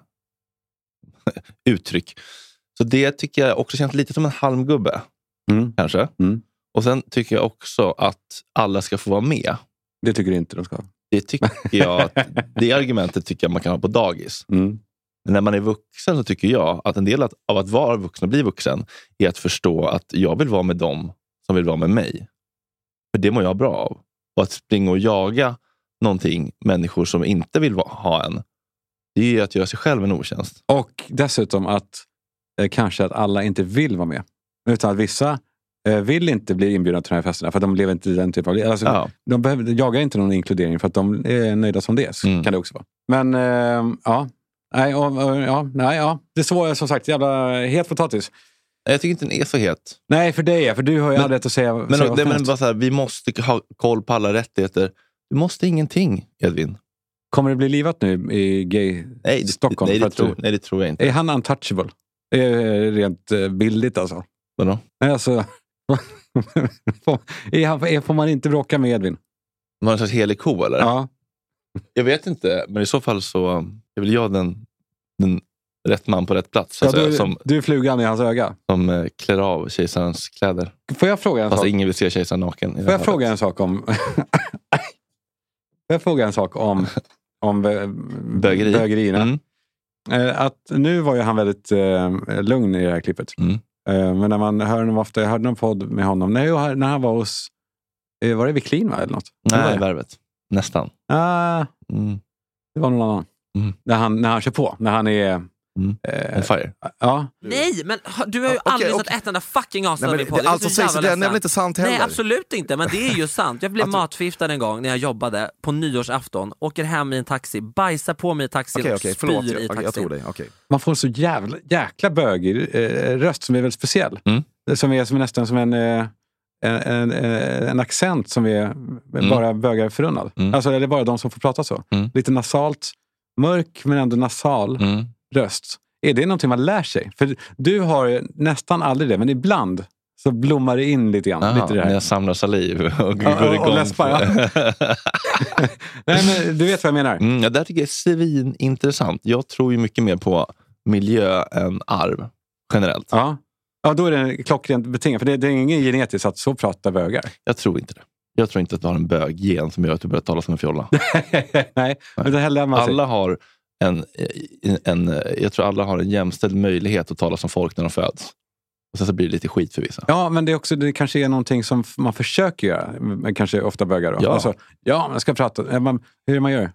[SPEAKER 1] uttryck. Så det tycker jag också känns lite som en halmgubbe. Kanske. Och sen tycker jag också att alla ska få vara med.
[SPEAKER 2] Det tycker inte de ska.
[SPEAKER 1] Det tycker jag. Att, det argumentet tycker jag man kan ha på dagis.
[SPEAKER 2] Mm.
[SPEAKER 1] Men när man är vuxen så tycker jag att en del att- av att vara vuxen och bli vuxen är att förstå att jag vill vara med dem som vill vara med mig. För det mår jag bra av. Och att springa och jaga någonting, människor som inte vill va- ha en, det är ju att göra sig själv en otjänst.
[SPEAKER 2] Och dessutom att eh, kanske att alla inte vill vara med. Utan att vissa eh, vill inte bli inbjudna till de här festerna för att de lever inte i den typen av liv. Alltså,
[SPEAKER 1] Ja.
[SPEAKER 2] De behöver, jagar inte någon inkludering för att de är nöjda som det är. Så
[SPEAKER 1] Mm.
[SPEAKER 2] kan det också vara. Men eh, ja. Nej, och, och, ja, nej, ja. Det svåra är som sagt jävla het potatis.
[SPEAKER 1] Jag tycker inte den är så het.
[SPEAKER 2] Nej, för dig ja. För du har ju all rätt att säga,
[SPEAKER 1] Men,
[SPEAKER 2] säga vad
[SPEAKER 1] det,
[SPEAKER 2] som
[SPEAKER 1] men
[SPEAKER 2] helst.
[SPEAKER 1] bara så här, vi måste ha koll på alla rättigheter. Du måste ingenting, Edvin.
[SPEAKER 2] Kommer det bli livat nu i gay
[SPEAKER 1] nej,
[SPEAKER 2] Stockholm?
[SPEAKER 1] nej,
[SPEAKER 2] för
[SPEAKER 1] det
[SPEAKER 2] att
[SPEAKER 1] tror, nej, det tror jag inte.
[SPEAKER 2] Är han untouchable? Eh, Rent eh, bildligt alltså.
[SPEAKER 1] Vadå?
[SPEAKER 2] Nej, alltså. får, är han, är, får man inte bråka med Edvin?
[SPEAKER 1] Var det en slags helig ko eller?
[SPEAKER 2] Ja.
[SPEAKER 1] Jag vet inte, men i så fall så um, är väl jag den, den rätt man på rätt plats. så
[SPEAKER 2] Ja,
[SPEAKER 1] att säga,
[SPEAKER 2] du,
[SPEAKER 1] Alltså, som
[SPEAKER 2] du är flugan i hans öga.
[SPEAKER 1] som eh, klär av kejsarens kläder.
[SPEAKER 2] Får jag fråga en
[SPEAKER 1] Fast
[SPEAKER 2] sak?
[SPEAKER 1] ingen vill se kejsaren naken. i det
[SPEAKER 2] Får jag
[SPEAKER 1] här
[SPEAKER 2] fråga en sak om... Får jag fråga en sak om, om eh,
[SPEAKER 1] Bögeri. Mm.
[SPEAKER 2] bögerierna? Eh, Att nu var ju han väldigt eh, lugn i det här klippet.
[SPEAKER 1] Mm.
[SPEAKER 2] Eh, men när man hör honom ofta, jag hörde någon podd med honom, när jag- när han var hos, eh, var det Wiklin va, eller något?
[SPEAKER 1] Nej,
[SPEAKER 2] Eller var det?
[SPEAKER 1] Värvet. Nästan.
[SPEAKER 2] Ah,
[SPEAKER 1] Mm.
[SPEAKER 2] det var någon annan. När, han, när han kör på, när han är... Eh,
[SPEAKER 1] On fire.
[SPEAKER 2] Ja.
[SPEAKER 18] Nej, men hör- du har ju
[SPEAKER 17] Okej,
[SPEAKER 18] aldrig
[SPEAKER 17] okej.
[SPEAKER 18] lyssnat ett enda fucking avsnitt
[SPEAKER 17] Nej,
[SPEAKER 18] av
[SPEAKER 17] men
[SPEAKER 18] min podd.
[SPEAKER 17] det- allt som sägs i den är väl inte sant heller? Alltså-
[SPEAKER 18] Nej, absolut inte. Men det är ju sant. Jag blev matförgiftad en gång när jag jobbade på nyårsafton, åker hem i en taxi, bajsar på mig i taxin,
[SPEAKER 17] Okej, okej, förlåt.
[SPEAKER 18] spyr
[SPEAKER 17] Jag-
[SPEAKER 18] i
[SPEAKER 17] jag
[SPEAKER 18] taxin.
[SPEAKER 17] tror dig. Okej.
[SPEAKER 2] Man får en så jävla, jäkla bögig eh, röst som är väldigt speciell.
[SPEAKER 1] Mm.
[SPEAKER 2] Som är som är nästan som en, eh, en, en, eh, en accent som är
[SPEAKER 1] Mm.
[SPEAKER 2] bara bögar förunnad. Alltså, eller bara de som får prata så. Lite nasalt, mörk men ändå nasal
[SPEAKER 1] Mm.
[SPEAKER 2] röst. Är det någonting man lär sig? För du har nästan aldrig det, men ibland så blommar det in lite grann.
[SPEAKER 1] Aha,
[SPEAKER 2] lite det här.
[SPEAKER 1] när jag samlar saliv och
[SPEAKER 2] Ja,
[SPEAKER 1] går
[SPEAKER 2] och- och
[SPEAKER 1] igång.
[SPEAKER 2] läspar,
[SPEAKER 1] på-
[SPEAKER 2] Nej, men du vet vad jag menar.
[SPEAKER 1] Mm, ja, det här tycker jag är svinintressant. Jag tror ju mycket mer på miljö än arv, generellt.
[SPEAKER 2] Ja. ja, då är det klockrent betingat. För det, det är ingen genetiskt att så pratar bögar.
[SPEAKER 1] Jag tror inte det. Jag tror inte att du har en böggen som gör att du börjar tala som en fjolla.
[SPEAKER 2] Nej, men det här lär man sig.
[SPEAKER 1] alla har en, eh, en, eh, jag tror alla har en jämställd möjlighet att tala som folk när de föds. Och sen så blir det lite skit för vissa.
[SPEAKER 2] Ja, men det, är också, det kanske är någonting som f- man försöker göra. Men kanske ofta bögar. Då.
[SPEAKER 1] Ja.
[SPEAKER 2] Alltså, ja, man ska prata. Eh, Man, hur är man gör?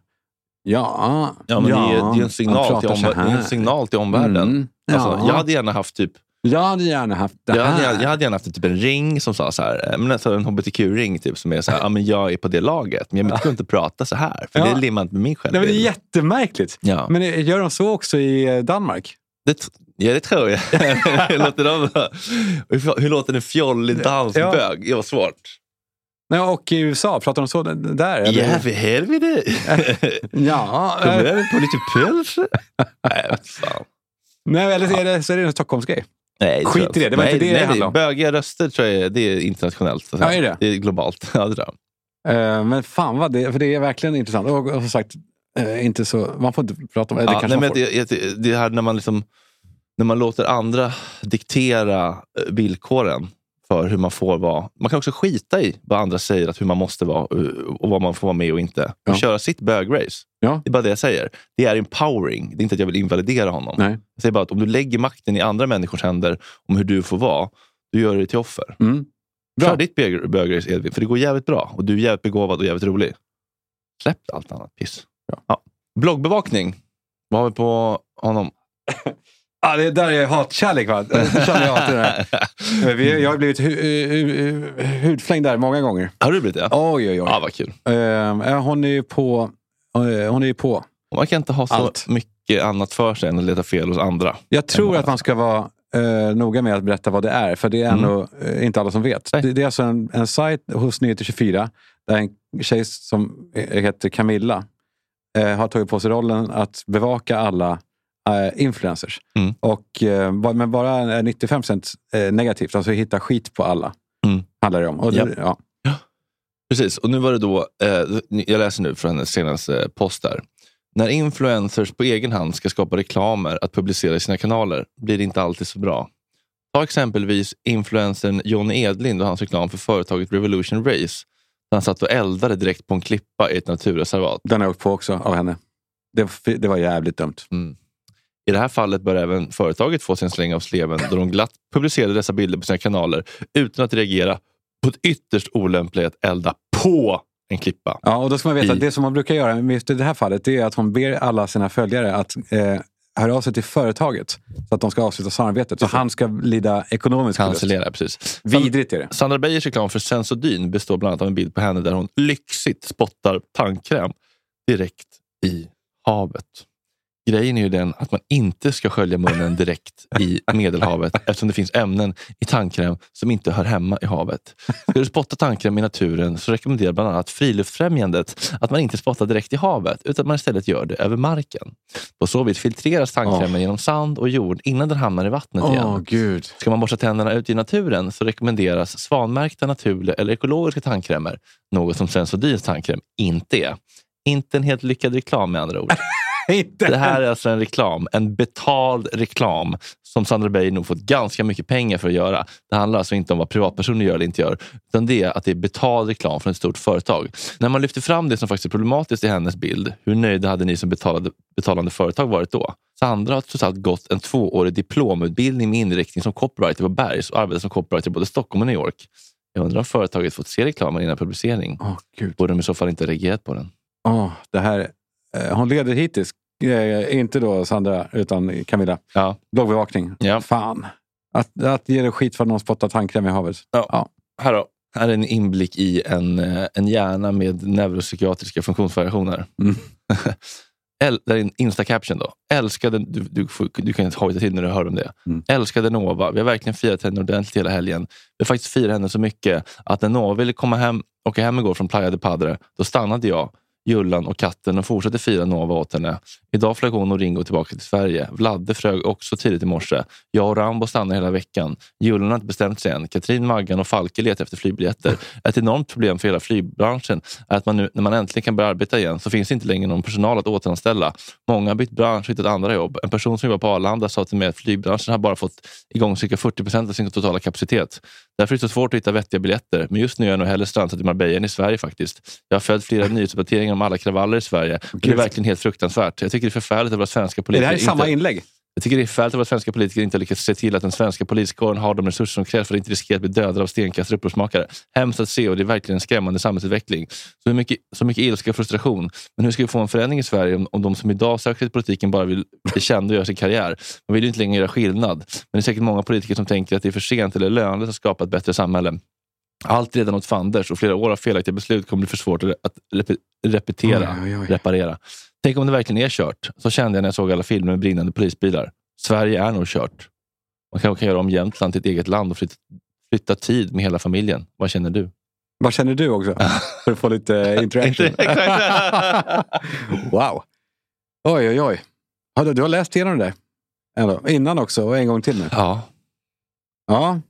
[SPEAKER 2] Ja,
[SPEAKER 1] Ja, men Det, är, det, är en
[SPEAKER 2] man
[SPEAKER 1] signal
[SPEAKER 2] pratar
[SPEAKER 1] till
[SPEAKER 2] så
[SPEAKER 1] omvär- det är
[SPEAKER 2] här.
[SPEAKER 1] en signal till omvärlden.
[SPEAKER 2] Mm. Ja.
[SPEAKER 1] Alltså, jag hade gärna haft typ
[SPEAKER 2] Jag hade gärna haft det
[SPEAKER 1] jag, hade,
[SPEAKER 2] här.
[SPEAKER 1] gärna- jag hade gärna haft typ en ring som sa så här, eh, men alltså en hbtq-ring typ, som är så här, ja, men jag är på det laget, men jag kan inte prata så här. För
[SPEAKER 2] Ja.
[SPEAKER 1] det limmar inte med min
[SPEAKER 2] Nej, men
[SPEAKER 1] självbild.
[SPEAKER 2] det är jättemärkligt.
[SPEAKER 1] Ja.
[SPEAKER 2] Men eh, gör de så också i eh, Danmark?
[SPEAKER 1] Det, t- ja, det tror jag. hur, låter de, hur, hur låter en fjollig dansbög? Det var svårt.
[SPEAKER 2] Nej, och i USA, pratar de så d- där? eller?
[SPEAKER 1] Ja, för helvete!
[SPEAKER 2] ja. Eh,
[SPEAKER 1] Kommer du över på lite päls? Nej, vad fan.
[SPEAKER 2] Nej, eller så är det, så är det en Stockholmsgrej.
[SPEAKER 1] Nej, tror jag
[SPEAKER 2] Skit i det, det var
[SPEAKER 1] nej,
[SPEAKER 2] inte det
[SPEAKER 1] nej,
[SPEAKER 2] det handlade om.
[SPEAKER 1] Bögiga röster tror jag är, det är internationellt. så att
[SPEAKER 2] Ja,
[SPEAKER 1] säga.
[SPEAKER 2] är det?
[SPEAKER 1] är globalt. Ja, det tror jag.
[SPEAKER 2] Eh, Men fan vad det, för det är verkligen intressant. Och, och som sagt, eh, inte så, man får inte prata om det.
[SPEAKER 1] Ja,
[SPEAKER 2] kanske
[SPEAKER 1] nej, men
[SPEAKER 2] man får.
[SPEAKER 1] det, det, det här när man, liksom, när man låter andra diktera eh, villkoren för hur man får vara. Man kan också skita i vad andra säger att hur man måste vara eh, och- och vad man får vara med och inte. Och köra sitt bögrace. Det är bara det jag säger. Det är empowering. Det är inte att jag vill invalidera honom. Jag säger bara att om du lägger makten i andra människors händer om hur du får vara, du gör dig till offer. Kör ditt bög- bögrace, Edvin, för det går jävligt bra. Och du är jävligt begåvad och jävligt rolig. Släpp allt annat piss. Ja. Bloggbevakning. Vad har vi på honom?
[SPEAKER 2] Ja, det där är hatkärlek va? Det känner jag alltid det här. Men vi, jag har blivit hu, hu, hu, hudflängd där många gånger.
[SPEAKER 1] Har du blivit det?
[SPEAKER 2] Oj, oj, oj.
[SPEAKER 1] Ja, vad kul.
[SPEAKER 2] Eh, hon är ju på. eh, hon är ju på.
[SPEAKER 1] Man kan inte ha så mycket annat för sig än att leta fel hos andra.
[SPEAKER 2] Jag tror att man ska vara eh, noga med att berätta vad det är, för det är ändå eh, inte alla som vet. Det, det är alltså en, en sajt hos Nyheter24 där en tjej som eh, heter Camilla eh, har tagit på sig rollen att bevaka alla eh, influencers. Och, eh, ba- men bara eh, 95 eh, negativt, alltså hitta skit på alla. Handlar det om. Och, det-
[SPEAKER 1] Japp.
[SPEAKER 2] ja.
[SPEAKER 1] Precis, och nu var det då, eh, jag läser nu från hennes senaste post där. När influencers på egen hand ska skapa reklamer att publicera i sina kanaler blir det inte alltid så bra. Ta exempelvis influencern Johnny Edlind och hans reklam för företaget Revolution Race. Där han satt och eldade direkt på en klippa i ett naturreservat.
[SPEAKER 2] Den har jag åkt på också av henne. Det, det var jävligt dumt.
[SPEAKER 1] Mm. I det här fallet bör även företaget få sin släng av sleven då de glatt publicerade dessa bilder på sina kanaler utan att reagera på ett ytterst olämpligt att elda på en klippa.
[SPEAKER 2] Ja, och då ska man veta att det som man brukar göra med just i det här fallet det är att hon ber alla sina följare att eh, höra av sig till företaget så att de ska avsluta samarbetet. Så han ska lida ekonomisk
[SPEAKER 1] Cancellera, precis.
[SPEAKER 2] Vidrigt är det.
[SPEAKER 1] Sandra Beijers reklam för Sensodyne består bland annat av en bild på henne där hon lyxigt spottar tandkräm direkt i havet. Grejen är ju den att man inte ska skölja munnen direkt i Medelhavet eftersom det finns ämnen i tandkräm som inte hör hemma i havet. Ska du spotta tandkräm i naturen så rekommenderar bland annat Friluftsfrämjandet att man inte spottar direkt i havet utan att man istället gör det över marken. På så vis filtreras tandkrämen genom sand och jord innan den hamnar i vattnet igen.
[SPEAKER 2] Åh, Gud.
[SPEAKER 1] Ska man borsta tänderna ute i naturen så rekommenderas svanmärkta, naturliga eller ekologiska tandkrämer. Något som Sensodyns tandkräm inte är. Inte en helt lyckad reklam med andra ord. Det här är alltså en reklam, en betald reklam som Sandra Beijer nog fått ganska mycket pengar för att göra. Det handlar alltså inte om vad privatpersoner gör eller inte gör, utan det är att det är betald reklam från ett stort företag. När man lyfter fram det som faktiskt är problematiskt i hennes bild, hur nöjda hade ni som betalade, betalande företag varit då? Sandra har trots allt gått en tvåårig diplomutbildning med inriktning som copywriter på Bergs och arbetar som copywriter i både Stockholm och New York. Jag undrar om företaget fått se reklamen innan publicering. Borde de i så fall inte ha reagerat på den?
[SPEAKER 2] Åh, det här, eh, hon leder hittills. Eh, inte då Sandra, utan Camilla.
[SPEAKER 1] Ja.
[SPEAKER 2] Bloggbevakning. Fan. Att, att ge det skit för att någon spottar tandkräm i havet.
[SPEAKER 1] Ja. Här då. Här är en inblick i en, eh, en hjärna med neuropsykiatriska funktionsvariationer. El, där är en Insta-caption då. Älskade, du, du, får- du kan hojta till när du hör om det. Älskade Nova. Vi har verkligen firat henne ordentligt hela helgen. Vi har faktiskt firat henne så mycket att när Nova ville komma hem, åka hem igår från Playa de Padre, då stannade jag, Jullan och katten och fortsatte fira Nova åt henne. Idag flög hon och Ringo tillbaka till Sverige. Vladde flög också tidigt i morse. Jag och Rambo stannar hela veckan. Jullan har inte bestämt sig än. Katrin, Maggan och Falke letar efter flygbiljetter. Ett enormt problem för hela flygbranschen är att man nu, när man äntligen kan börja arbeta igen så finns det inte längre någon personal att återanställa. Många har bytt bransch och hittat andra jobb. En person som jobbar på Arlanda sa till mig att flygbranschen har bara fått igång cirka 40 procent av sin totala kapacitet. Därför är det så svårt att hitta vettiga biljetter. Men just nu är jag nog hellre strandsatt i Marbella än i Sverige faktiskt. Jag har följt flera nyhetsuppdateringar om alla kravaller i Sverige. Och det är
[SPEAKER 2] Gud.
[SPEAKER 1] verkligen helt fruktansvärt. Jag tycker det är förfärligt att våra svenska
[SPEAKER 2] Är det
[SPEAKER 1] politiker
[SPEAKER 2] här är samma
[SPEAKER 1] inte...
[SPEAKER 2] inlägg?
[SPEAKER 1] Jag tycker det är färdigt att våra svenska politiker inte har lyckats se till att den svenska poliskåren har de resurser som krävs för att inte riskera att bli dödade av stenkastare och upprorsmakare. Hemskt att se och det är verkligen en skrämmande samhällsutveckling. Så hur mycket, så mycket ilska och frustration. Men hur ska vi få en förändring i Sverige om, om de som idag söker sig till politiken bara vill bli kända och göra sin karriär? Man vill ju inte längre göra skillnad. Men det är säkert många politiker som tänker att det är för sent eller lönlöst att skapa ett bättre samhälle. Allt redan åt fanders och flera år av felaktiga beslut kommer bli för svårt att re- att repe- repetera, reparera. Tänk om det verkligen är kört. Så kände jag när jag såg alla filmer med brinnande polisbilar. Sverige är nog kört. Man kanske kan göra om Jämtland till ett eget land och flytta, flytta tid med hela familjen. Vad känner du?
[SPEAKER 2] Vad känner du också? För att få lite interaction. wow. Oj, oj, oj. Har du, du har läst igenom det där? Ändå. Innan också och en gång till nu?
[SPEAKER 1] Ja.
[SPEAKER 2] Ja.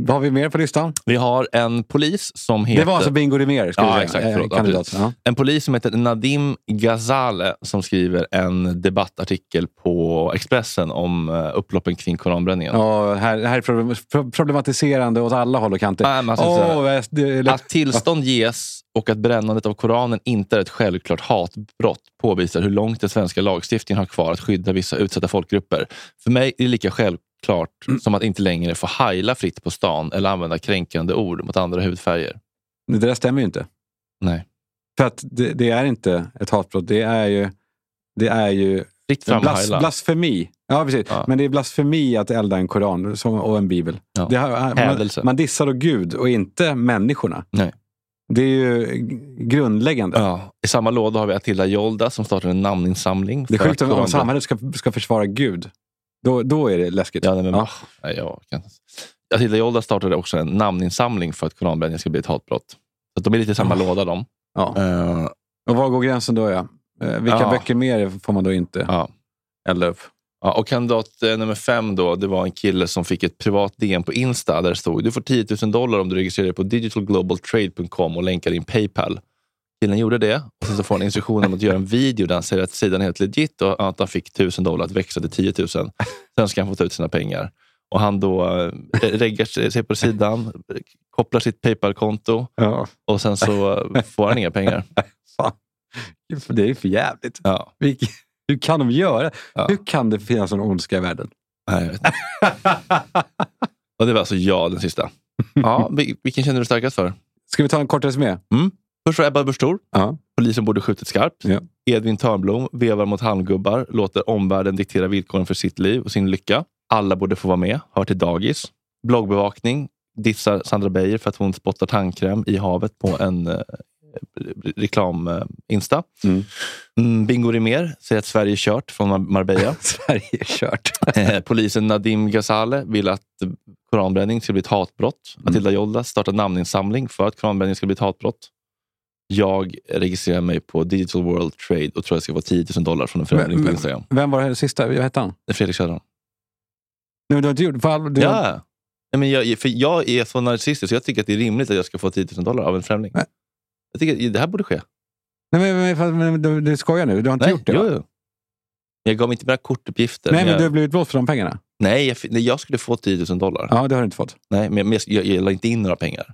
[SPEAKER 2] Vad har vi mer på listan?
[SPEAKER 1] Vi har en polis som heter...
[SPEAKER 2] Det var alltså Bingo Rimér, ska vi
[SPEAKER 1] ja,
[SPEAKER 2] säga.
[SPEAKER 1] exakt,
[SPEAKER 2] Eh,
[SPEAKER 1] förlåt, ja,
[SPEAKER 2] kandidat,
[SPEAKER 1] precis.
[SPEAKER 2] ja.
[SPEAKER 1] En polis som heter Nadim Ghazale som skriver en debattartikel på Expressen om eh, upploppen kring koranbränningen.
[SPEAKER 2] Ja, här, här är problem- pro- problematiserande åt alla håll och kanter.
[SPEAKER 1] Nej, men alltså,
[SPEAKER 2] Åh,
[SPEAKER 1] så här,
[SPEAKER 2] vad- det är lätt-
[SPEAKER 1] att tillstånd ges och att brännandet av Koranen inte är ett självklart hatbrott påvisar hur långt den svenska lagstiftningen har kvar att skydda vissa utsatta folkgrupper. För mig är det lika självklart
[SPEAKER 2] Mm.
[SPEAKER 1] som att inte längre få heila fritt på stan eller använda kränkande ord mot andra hudfärger.
[SPEAKER 2] Det där stämmer ju inte.
[SPEAKER 1] Nej.
[SPEAKER 2] För att det, det är inte ett hatbrott. Det är ju... Det är ju
[SPEAKER 1] Fritt fram och heila.
[SPEAKER 2] blasfemi. Ja, precis. Men det är blasfemi att elda en koran som, och en bibel.
[SPEAKER 1] Ja.
[SPEAKER 2] Det har, man,
[SPEAKER 1] Hädelse.
[SPEAKER 2] man dissar då Gud och inte människorna.
[SPEAKER 1] Nej.
[SPEAKER 2] Det är ju g- grundläggande.
[SPEAKER 1] Ja. I samma låda har vi Attila Jolda som startar en namninsamling.
[SPEAKER 2] Det är
[SPEAKER 1] för
[SPEAKER 2] sjukt om, om
[SPEAKER 1] koranbränning.
[SPEAKER 2] samhället ska, ska försvara Gud. Då, då är det läskigt.
[SPEAKER 1] Ja, nej, men, nej, jag kan... Attila Jolda startade också en namninsamling för att koranbränningen ska bli ett hatbrott. Så att de är lite i
[SPEAKER 2] Ah.
[SPEAKER 1] samma låda de.
[SPEAKER 2] Ja.
[SPEAKER 1] Eh,
[SPEAKER 2] Och var går gränsen då? Ja? Eh, Vilka
[SPEAKER 1] Ja.
[SPEAKER 2] böcker mer får man då inte elda upp?
[SPEAKER 1] Ja, och kandidat eh, nummer fem då, det var en kille som fick ett privat DM på Insta där det stod du får 10 000 dollar om du registrerar dig på digitalglobaltrade.com och länkar in Paypal. Killen gjorde det och sen så får han instruktioner om att göra en video där han säger att sidan är helt legit och att han fick 1000 dollar att växa till 10 000. Sen ska han få ta ut sina pengar. Och han då eh, reggar sig sig på sidan, eh, kopplar sitt Paypal-konto
[SPEAKER 2] Ja.
[SPEAKER 1] och sen så eh, får han inga pengar.
[SPEAKER 2] Det är ju för jävligt.
[SPEAKER 1] Ja.
[SPEAKER 2] Vilk- Hur kan de göra? Hur kan det finnas en ondska i världen?
[SPEAKER 1] Nej, jag vet inte. Och det var alltså jag, den sista. Ja, vil- vilken känner du starkast för?
[SPEAKER 2] Ska vi ta en kort resumé?
[SPEAKER 1] Mm. Först var Ebba Busch Thor. Polisen borde skjutit skarpt.
[SPEAKER 2] Ja.
[SPEAKER 1] Edvin Törnblom vevar mot halmgubbar, låter omvärlden diktera villkoren för sitt liv och sin lycka. Alla borde få vara med, hör till dagis. Bloggbevakning dissar Sandra Beijer för att hon spottar tandkräm i havet på en eh, reklam-insta.
[SPEAKER 2] Mm.
[SPEAKER 1] Bingo Rimér säger att Sverige är kört från Mar- Marbella.
[SPEAKER 2] Sverige är kört.
[SPEAKER 1] Eh, Polisen Nadim Ghazale vill att koranbränning ska bli ett hatbrott.
[SPEAKER 2] Mm.
[SPEAKER 1] Matilda Jolda startar namninsamling för att koranbränning ska bli ett hatbrott. Jag registrerar mig på Digital World Trade och tror jag ska få 10 000 dollar från en förändring på Instagram.
[SPEAKER 2] Vem var det här sista? Vad hette han?
[SPEAKER 1] Det är Fredrik Söderholm.
[SPEAKER 2] Nej, men du har inte gjort... för all- Du,
[SPEAKER 1] Ja! Nej, men jag, för jag är så narcissistisk så jag tycker att det är rimligt att jag ska få 10 000 dollar av en främling. Jag tycker att det här borde ske.
[SPEAKER 2] Nej, men, men, fast- men, du, du skojar nu? Du har inte gjort det? va?
[SPEAKER 1] Jo, jo. Jag gav inte mina kortuppgifter.
[SPEAKER 2] Nej, men
[SPEAKER 1] jag,
[SPEAKER 2] du har blivit blåst för de pengarna?
[SPEAKER 1] nej, jag, fi- nej, jag skulle få 10 000 dollar.
[SPEAKER 2] Ja, det har du inte fått.
[SPEAKER 1] Nej, men jag, jag, jag la inte in några pengar.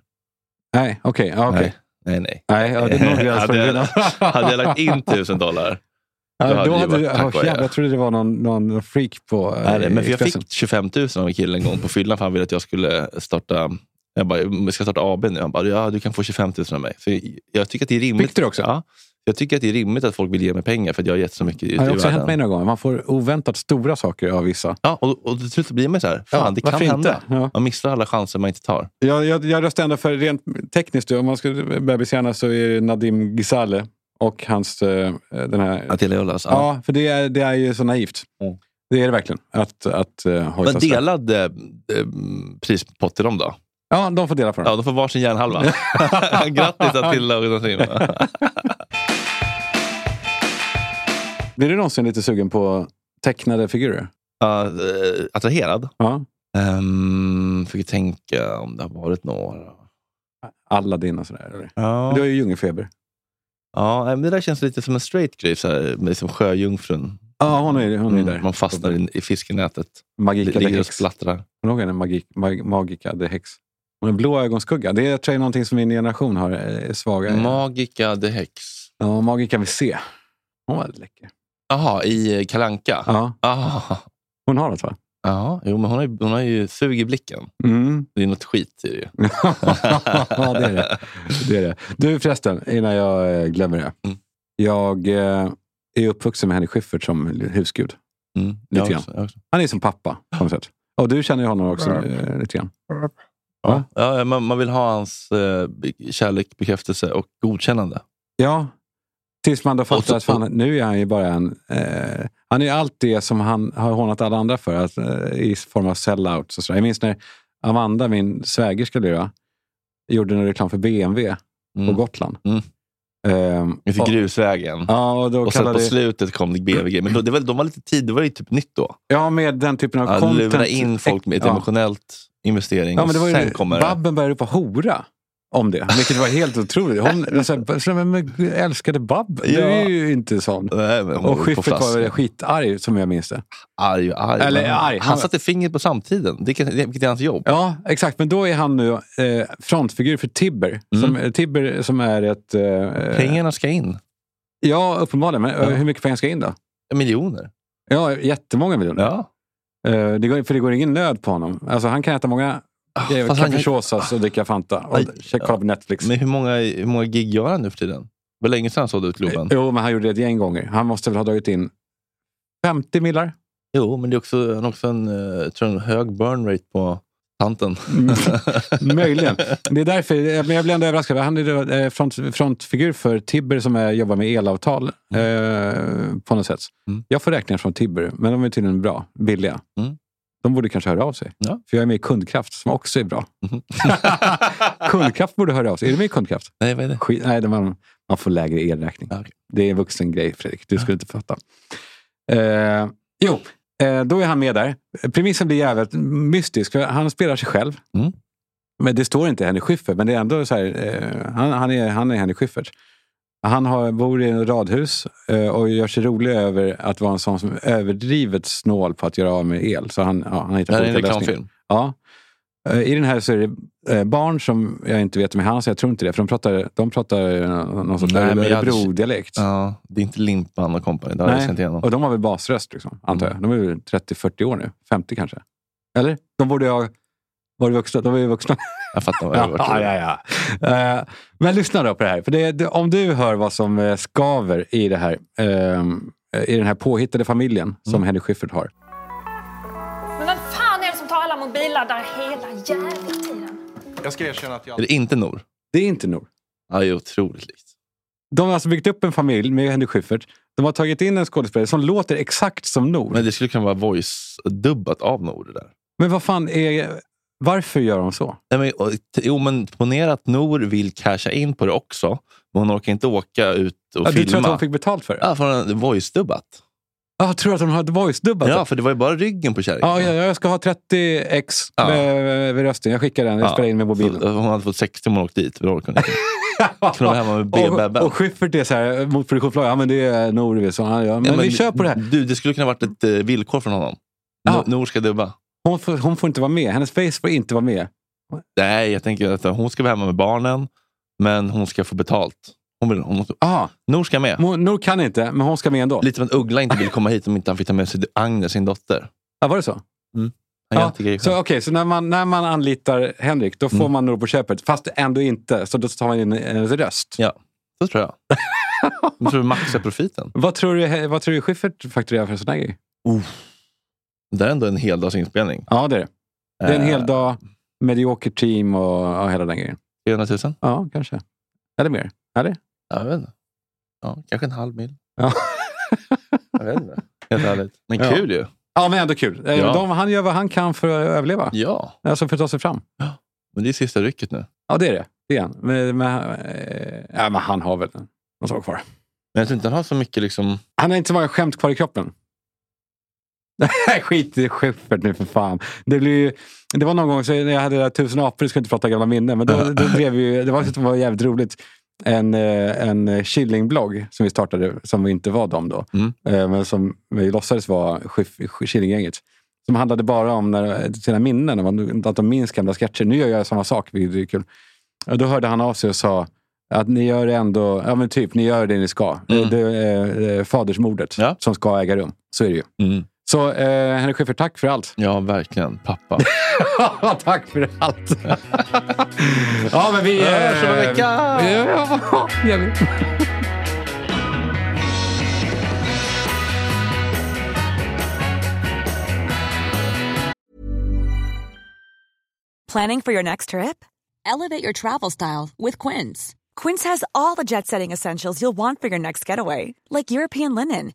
[SPEAKER 2] Nej, okej. ja, okej.
[SPEAKER 1] Nej, nej. nej.
[SPEAKER 2] Nej, ja, det är nog gräns för
[SPEAKER 1] hade, jag,
[SPEAKER 2] det.
[SPEAKER 1] hade jag lagt in tusen dollar, då
[SPEAKER 2] Ja,
[SPEAKER 1] hade
[SPEAKER 2] då
[SPEAKER 1] det ju
[SPEAKER 2] hade du,
[SPEAKER 1] varit
[SPEAKER 2] oh,
[SPEAKER 1] tack vare
[SPEAKER 2] jävlar,
[SPEAKER 1] jag.
[SPEAKER 2] jag trodde det var någon, någon freak på eh,
[SPEAKER 1] Nej, nej, men för jag
[SPEAKER 2] Expressen.
[SPEAKER 1] fick 25 000 av en kille en gång på fyllan för han ville att jag skulle starta jag bara, vi ska starta AB nu. Han bara, ja, du kan få 25 000 av mig. Så jag, jag tycker att det är rimligt. Fick du också? Ja, jag tycker att det är rimligt att folk vill ge mig pengar för att jag har gett så mycket ut i
[SPEAKER 2] Ja, det har också
[SPEAKER 1] världen.
[SPEAKER 2] hänt mig några gånger. Man får oväntat stora saker av vissa.
[SPEAKER 1] Ja, och, och till slut blir man så här, fan
[SPEAKER 2] Ja,
[SPEAKER 1] det kan
[SPEAKER 2] varför
[SPEAKER 1] hända.
[SPEAKER 2] inte? Ja.
[SPEAKER 1] Man missar alla chanser man inte tar.
[SPEAKER 2] Jag, jag, jag röstar ändå för, rent tekniskt, då, om man ska bebishjärna så är det Nadim Ghizale och hans... eh, den här,
[SPEAKER 1] Attila Jollas.
[SPEAKER 2] ja. för det är, det är ju så naivt. Det är det verkligen. Att, att uh,
[SPEAKER 1] Mm. Men delad eh, eh, prispott till dem då?
[SPEAKER 2] Ja, de får dela på den.
[SPEAKER 1] Ja, de får varsin järnhalva. Grattis Attila och Nadim.
[SPEAKER 2] Blir du någonsin lite sugen på tecknade figurer?
[SPEAKER 1] Ja, eh, attraherad?
[SPEAKER 2] Ja.
[SPEAKER 1] Um, fick jag tänka om det har varit några.
[SPEAKER 2] Aladdin och sådär? Eller?
[SPEAKER 1] Ja.
[SPEAKER 2] Du har ju djungelfeber.
[SPEAKER 1] Ja, nej, men det där känns lite som en straight grej, så här, med liksom sjöjungfrun.
[SPEAKER 2] Ja, hon är, hon är
[SPEAKER 1] Mm,
[SPEAKER 2] där.
[SPEAKER 1] Man fastnar i, i fiskenätet.
[SPEAKER 2] Magica
[SPEAKER 1] Ligger
[SPEAKER 2] the
[SPEAKER 1] och
[SPEAKER 2] Hex.
[SPEAKER 1] splattrar.
[SPEAKER 2] Kommer du ihåg henne? Magik, mag, Magica the Hex. Och en blå ögonskugga. Det är, tror jag är någonting som min generation har eh, svaga.
[SPEAKER 1] Magica the Hex.
[SPEAKER 2] Ja, Magica vi se. Hon var väldigt läcker.
[SPEAKER 1] Jaha, i Kalanka?
[SPEAKER 2] Ja.
[SPEAKER 1] Ah.
[SPEAKER 2] Hon har något va?
[SPEAKER 1] Ja, jo, men hon har, ju- hon har ju sug i blicken.
[SPEAKER 2] Mm.
[SPEAKER 1] Det är något skit i det ju.
[SPEAKER 2] ja, det är det. det är det. Du förresten, innan jag eh, glömmer det. Jag eh, är uppvuxen med Henrik Schyffert som husgud.
[SPEAKER 1] Mm, jag
[SPEAKER 2] Lite grann.
[SPEAKER 1] också, jag också.
[SPEAKER 2] Han är som pappa på något sätt. Och du känner ju honom också eh, lite grann. Va?
[SPEAKER 1] Ja, man, man vill ha hans eh, be- kärlek, bekräftelse och godkännande.
[SPEAKER 2] Ja, tills man då
[SPEAKER 1] Och så-
[SPEAKER 2] fattar att fan, nu är han ju bara en... Eh, han är ju allt det som han har hånat alla andra för, att, eh, i form av sellouts och sådär. Jag minns när Amanda,
[SPEAKER 1] Mm.
[SPEAKER 2] min svägerska, blir, va, gjorde en reklam för BMW på Gotland. Um,
[SPEAKER 1] Till grusvägen.
[SPEAKER 2] Ja, och då
[SPEAKER 1] och sen på
[SPEAKER 2] kallade-
[SPEAKER 1] slutet kom det BVG. Men då, det var, de var lite tid, det var ju typ nytt då.
[SPEAKER 2] Ja, med den typen av
[SPEAKER 1] Att
[SPEAKER 2] content.
[SPEAKER 1] lura in folk med ett
[SPEAKER 2] Ja.
[SPEAKER 1] emotionellt investering.
[SPEAKER 2] Ja, men det var
[SPEAKER 1] och
[SPEAKER 2] ju,
[SPEAKER 1] sen kommer det.
[SPEAKER 2] Babben började ropa hora om det, vilket var helt otroligt. Hon så här, så här, men, jag älskade Babben. Du är
[SPEAKER 1] Ja.
[SPEAKER 2] ju inte sån.
[SPEAKER 1] hon var
[SPEAKER 2] och
[SPEAKER 1] på
[SPEAKER 2] Schyffert
[SPEAKER 1] flask.
[SPEAKER 2] var skitarg, som jag minns det.
[SPEAKER 1] Arg och arg.
[SPEAKER 2] Eller
[SPEAKER 1] Men
[SPEAKER 2] arg,
[SPEAKER 1] Han,
[SPEAKER 2] han-
[SPEAKER 1] satte fingret på samtiden, det, kan- det, vilket är hans jobb.
[SPEAKER 2] Ja, exakt. Men då är han nu eh, frontfigur för Tibber.
[SPEAKER 1] Mm.
[SPEAKER 2] Som, eh, Tibber som är ett... Eh,
[SPEAKER 1] Pengarna ska in.
[SPEAKER 2] Ja, uppenbarligen. Men eh, hur mycket pengar ska in då?
[SPEAKER 1] Miljoner.
[SPEAKER 2] Ja, jättemånga miljoner. Eh, det går, för det går ingen nöd på honom. Alltså, han kan äta många eh,
[SPEAKER 1] Ah, fast han-
[SPEAKER 2] capriciosas och dricka Fanta. Och
[SPEAKER 1] Aj,
[SPEAKER 2] kolla på Netflix.
[SPEAKER 1] Men hur många, hur många gig gör han nu för tiden? Det var länge sedan han sålde ut Globen.
[SPEAKER 2] Jo, men han gjorde det ett gäng gånger. Han måste väl ha dragit in 50 millar.
[SPEAKER 1] Jo, men det är också, han har också en, eh, jag tror en hög burn rate på tanten.
[SPEAKER 2] Mm. Möjligen. Det är därför, eh, men jag blir ändå överraskad. Han är då, eh, front, frontfigur för Tibber som är, jobbar med elavtal eh, på något sätt. Jag får räkningar från Tibber, men de är tydligen bra, billiga. De borde kanske höra av sig. För jag är med i Kundkraft som också är bra. kundkraft borde höra av sig. Är du med i Kundkraft?
[SPEAKER 1] Nej, vad är det?
[SPEAKER 2] Skit, nej, det man, man får lägre elräkning. Det är en vuxen grej, Fredrik. Du skulle inte fatta. Eh, jo, eh, då är han med där. Premissen blir jävligt mystisk. För han spelar sig själv.
[SPEAKER 1] Mm.
[SPEAKER 2] Men det står inte Henry Schyffert, men det är ändå så här, eh, han, han, är, han är Henry Schyffert. Han har, bor i en radhus eh, och gör sig rolig över att vara en sån som är överdrivet snål på att göra av med el. Så han, ja, han hittar
[SPEAKER 1] Det här
[SPEAKER 2] på
[SPEAKER 1] är en
[SPEAKER 2] olika
[SPEAKER 1] reklamfilm.
[SPEAKER 2] lösningar. Ja. Eh, I den här så är det eh, barn som jag inte vet om är han, så jag tror inte det. För de pratar, de pratar eh, någon sorts
[SPEAKER 1] Nej, men jag hade-
[SPEAKER 2] Örebro-dialekt.
[SPEAKER 1] Ja, det är inte Limpan och kompani. Det har jag
[SPEAKER 2] Nej,
[SPEAKER 1] känt igenom.
[SPEAKER 2] och de har väl basröst, liksom, antar jag. De är väl 30-40 år nu. 50 kanske. Eller? De borde ju ha varit vuxna. De är ju vuxna.
[SPEAKER 1] Jag fattar vad jag har
[SPEAKER 2] ja,
[SPEAKER 1] varit.
[SPEAKER 2] ja, ja, Eh, men lyssna då på det här. För det, det, om du hör vad som eh, skaver i, det här, ehm, i den här påhittade familjen
[SPEAKER 1] Mm.
[SPEAKER 2] som Henry Schyffert har.
[SPEAKER 19] Men vem fan är det som tar alla mobilladdare hela jävla tiden?
[SPEAKER 17] Jag ska erkänna att jag...
[SPEAKER 1] Är det inte Nor?
[SPEAKER 2] Det är inte Nor.
[SPEAKER 1] Ja, det är otroligt likt.
[SPEAKER 2] De har alltså byggt upp en familj med Henry Schyffert. De har tagit in en skådespelare som låter exakt som Nor.
[SPEAKER 1] Men det skulle kunna vara voice-dubbat av Nor det där.
[SPEAKER 2] Men vad fan är... Varför gör de så?
[SPEAKER 1] Nej, men, och- t- jo, men ponera att Nor vill casha in på det också, men hon orkar inte åka ut och
[SPEAKER 2] Ja, du
[SPEAKER 1] filma.
[SPEAKER 2] tror att hon fick betalt för det?
[SPEAKER 1] Ja, för hon hade voice-dubbat.
[SPEAKER 2] Ja, Jag tror att de hade voice-dubbat
[SPEAKER 1] Ja,
[SPEAKER 2] det.
[SPEAKER 1] för det var ju bara ryggen på kärringen.
[SPEAKER 2] Ja, ja, jag ska ha 30 x
[SPEAKER 1] Ja.
[SPEAKER 2] med, med rösten. Jag skickar den. Jag spelar in med mobilen.
[SPEAKER 1] Så, eh, Hon hade fått 60 om hon åkte dit. men det orkade hon inte. Kunde vara hemma med
[SPEAKER 2] Och,
[SPEAKER 1] bebben.
[SPEAKER 2] och Schyffert är så här, mot produktionsbolaget, ja men det är Norvi. Så han, ja, men,
[SPEAKER 1] Ja,
[SPEAKER 2] vi kör på det här.
[SPEAKER 1] Du, det skulle kunna varit ett eh, villkor från honom. No- Nor ska dubba.
[SPEAKER 2] Hon får, hon får inte vara med. Hennes face får inte vara med.
[SPEAKER 1] Nej, jag tänker att hon ska vara hemma med barnen, men hon ska få betalt. Hon vill, hon måste... Nor ska med.
[SPEAKER 2] Nor kan inte, men hon ska med ändå.
[SPEAKER 1] Lite som att Uggla inte vill komma hit om inte han fick ta med sig Agnes, sin dotter.
[SPEAKER 2] Ja, var det så?
[SPEAKER 1] Mm. Han gör
[SPEAKER 2] Ja,
[SPEAKER 1] inte grejer
[SPEAKER 2] så
[SPEAKER 1] själv.
[SPEAKER 2] okej, så när man, när man anlitar Henrik, då får
[SPEAKER 1] Mm.
[SPEAKER 2] man Nor på köpet. Fast ändå inte, så då tar man in hennes röst.
[SPEAKER 1] Ja, så tror jag. Jag tror vi maxar profiten.
[SPEAKER 2] Vad tror du, vad tror du Schyffert fakturerar för en sån här grej?
[SPEAKER 1] Det är ändå en heldagsinspelning.
[SPEAKER 2] Ja, det är det. Det är en
[SPEAKER 1] Eh.
[SPEAKER 2] hel dag, medioker team och ja, hela den grejen.
[SPEAKER 1] 300 000?
[SPEAKER 2] Ja, kanske. Eller mer. Eller?
[SPEAKER 1] Jag vet inte. Ja, kanske en halv mil.
[SPEAKER 2] Ja.
[SPEAKER 1] Jag vet inte. Helt ärligt. Men
[SPEAKER 2] Ja.
[SPEAKER 1] kul ju.
[SPEAKER 2] Ja, men ändå kul. Eh,
[SPEAKER 1] Ja.
[SPEAKER 2] De, han gör vad han kan för att överleva.
[SPEAKER 1] Ja.
[SPEAKER 2] Alltså för att ta sig fram.
[SPEAKER 1] Men det är sista rycket nu.
[SPEAKER 2] Ja, det är det. det är han. Men, men, eh, ja, men han har väl någon sak kvar.
[SPEAKER 1] Men jag tror inte han har så mycket liksom...
[SPEAKER 2] Han har inte så många skämt kvar i kroppen. Nej, Skit i Schyffert nu för fan. Det, blir ju, det var någon gång så när jag hade det där tusen apor, skulle inte prata gamla minnen, men då, då drev vi, ju- det var, det var jävligt roligt, en, eh, en Killing-blogg som vi startade, som inte var dem då, eh, men som vi låtsades vara Schiff- Sch- Killinggänget. Som handlade bara om när, sina minnen, och man- att de minns gamla sketcher. Nu gör jag samma sak, vilket är kul. Och då hörde han av sig och sa att ni gör ändå, ja men typ, ni gör det ni ska. Det, det, är, eh, fadersmordet som ska äga rum. Så är det ju. Så eh, Henrik Schyffert, tack för allt.
[SPEAKER 1] Ja, verkligen. Pappa.
[SPEAKER 2] tack för allt. ja, men vi... eh,
[SPEAKER 3] Vi hörs om en vecka!
[SPEAKER 2] Ja, gör vi.
[SPEAKER 20] Planning for your next trip? Elevate your travel style with Quince. Quince has all the jet setting essentials you'll want for your next getaway, like European linen,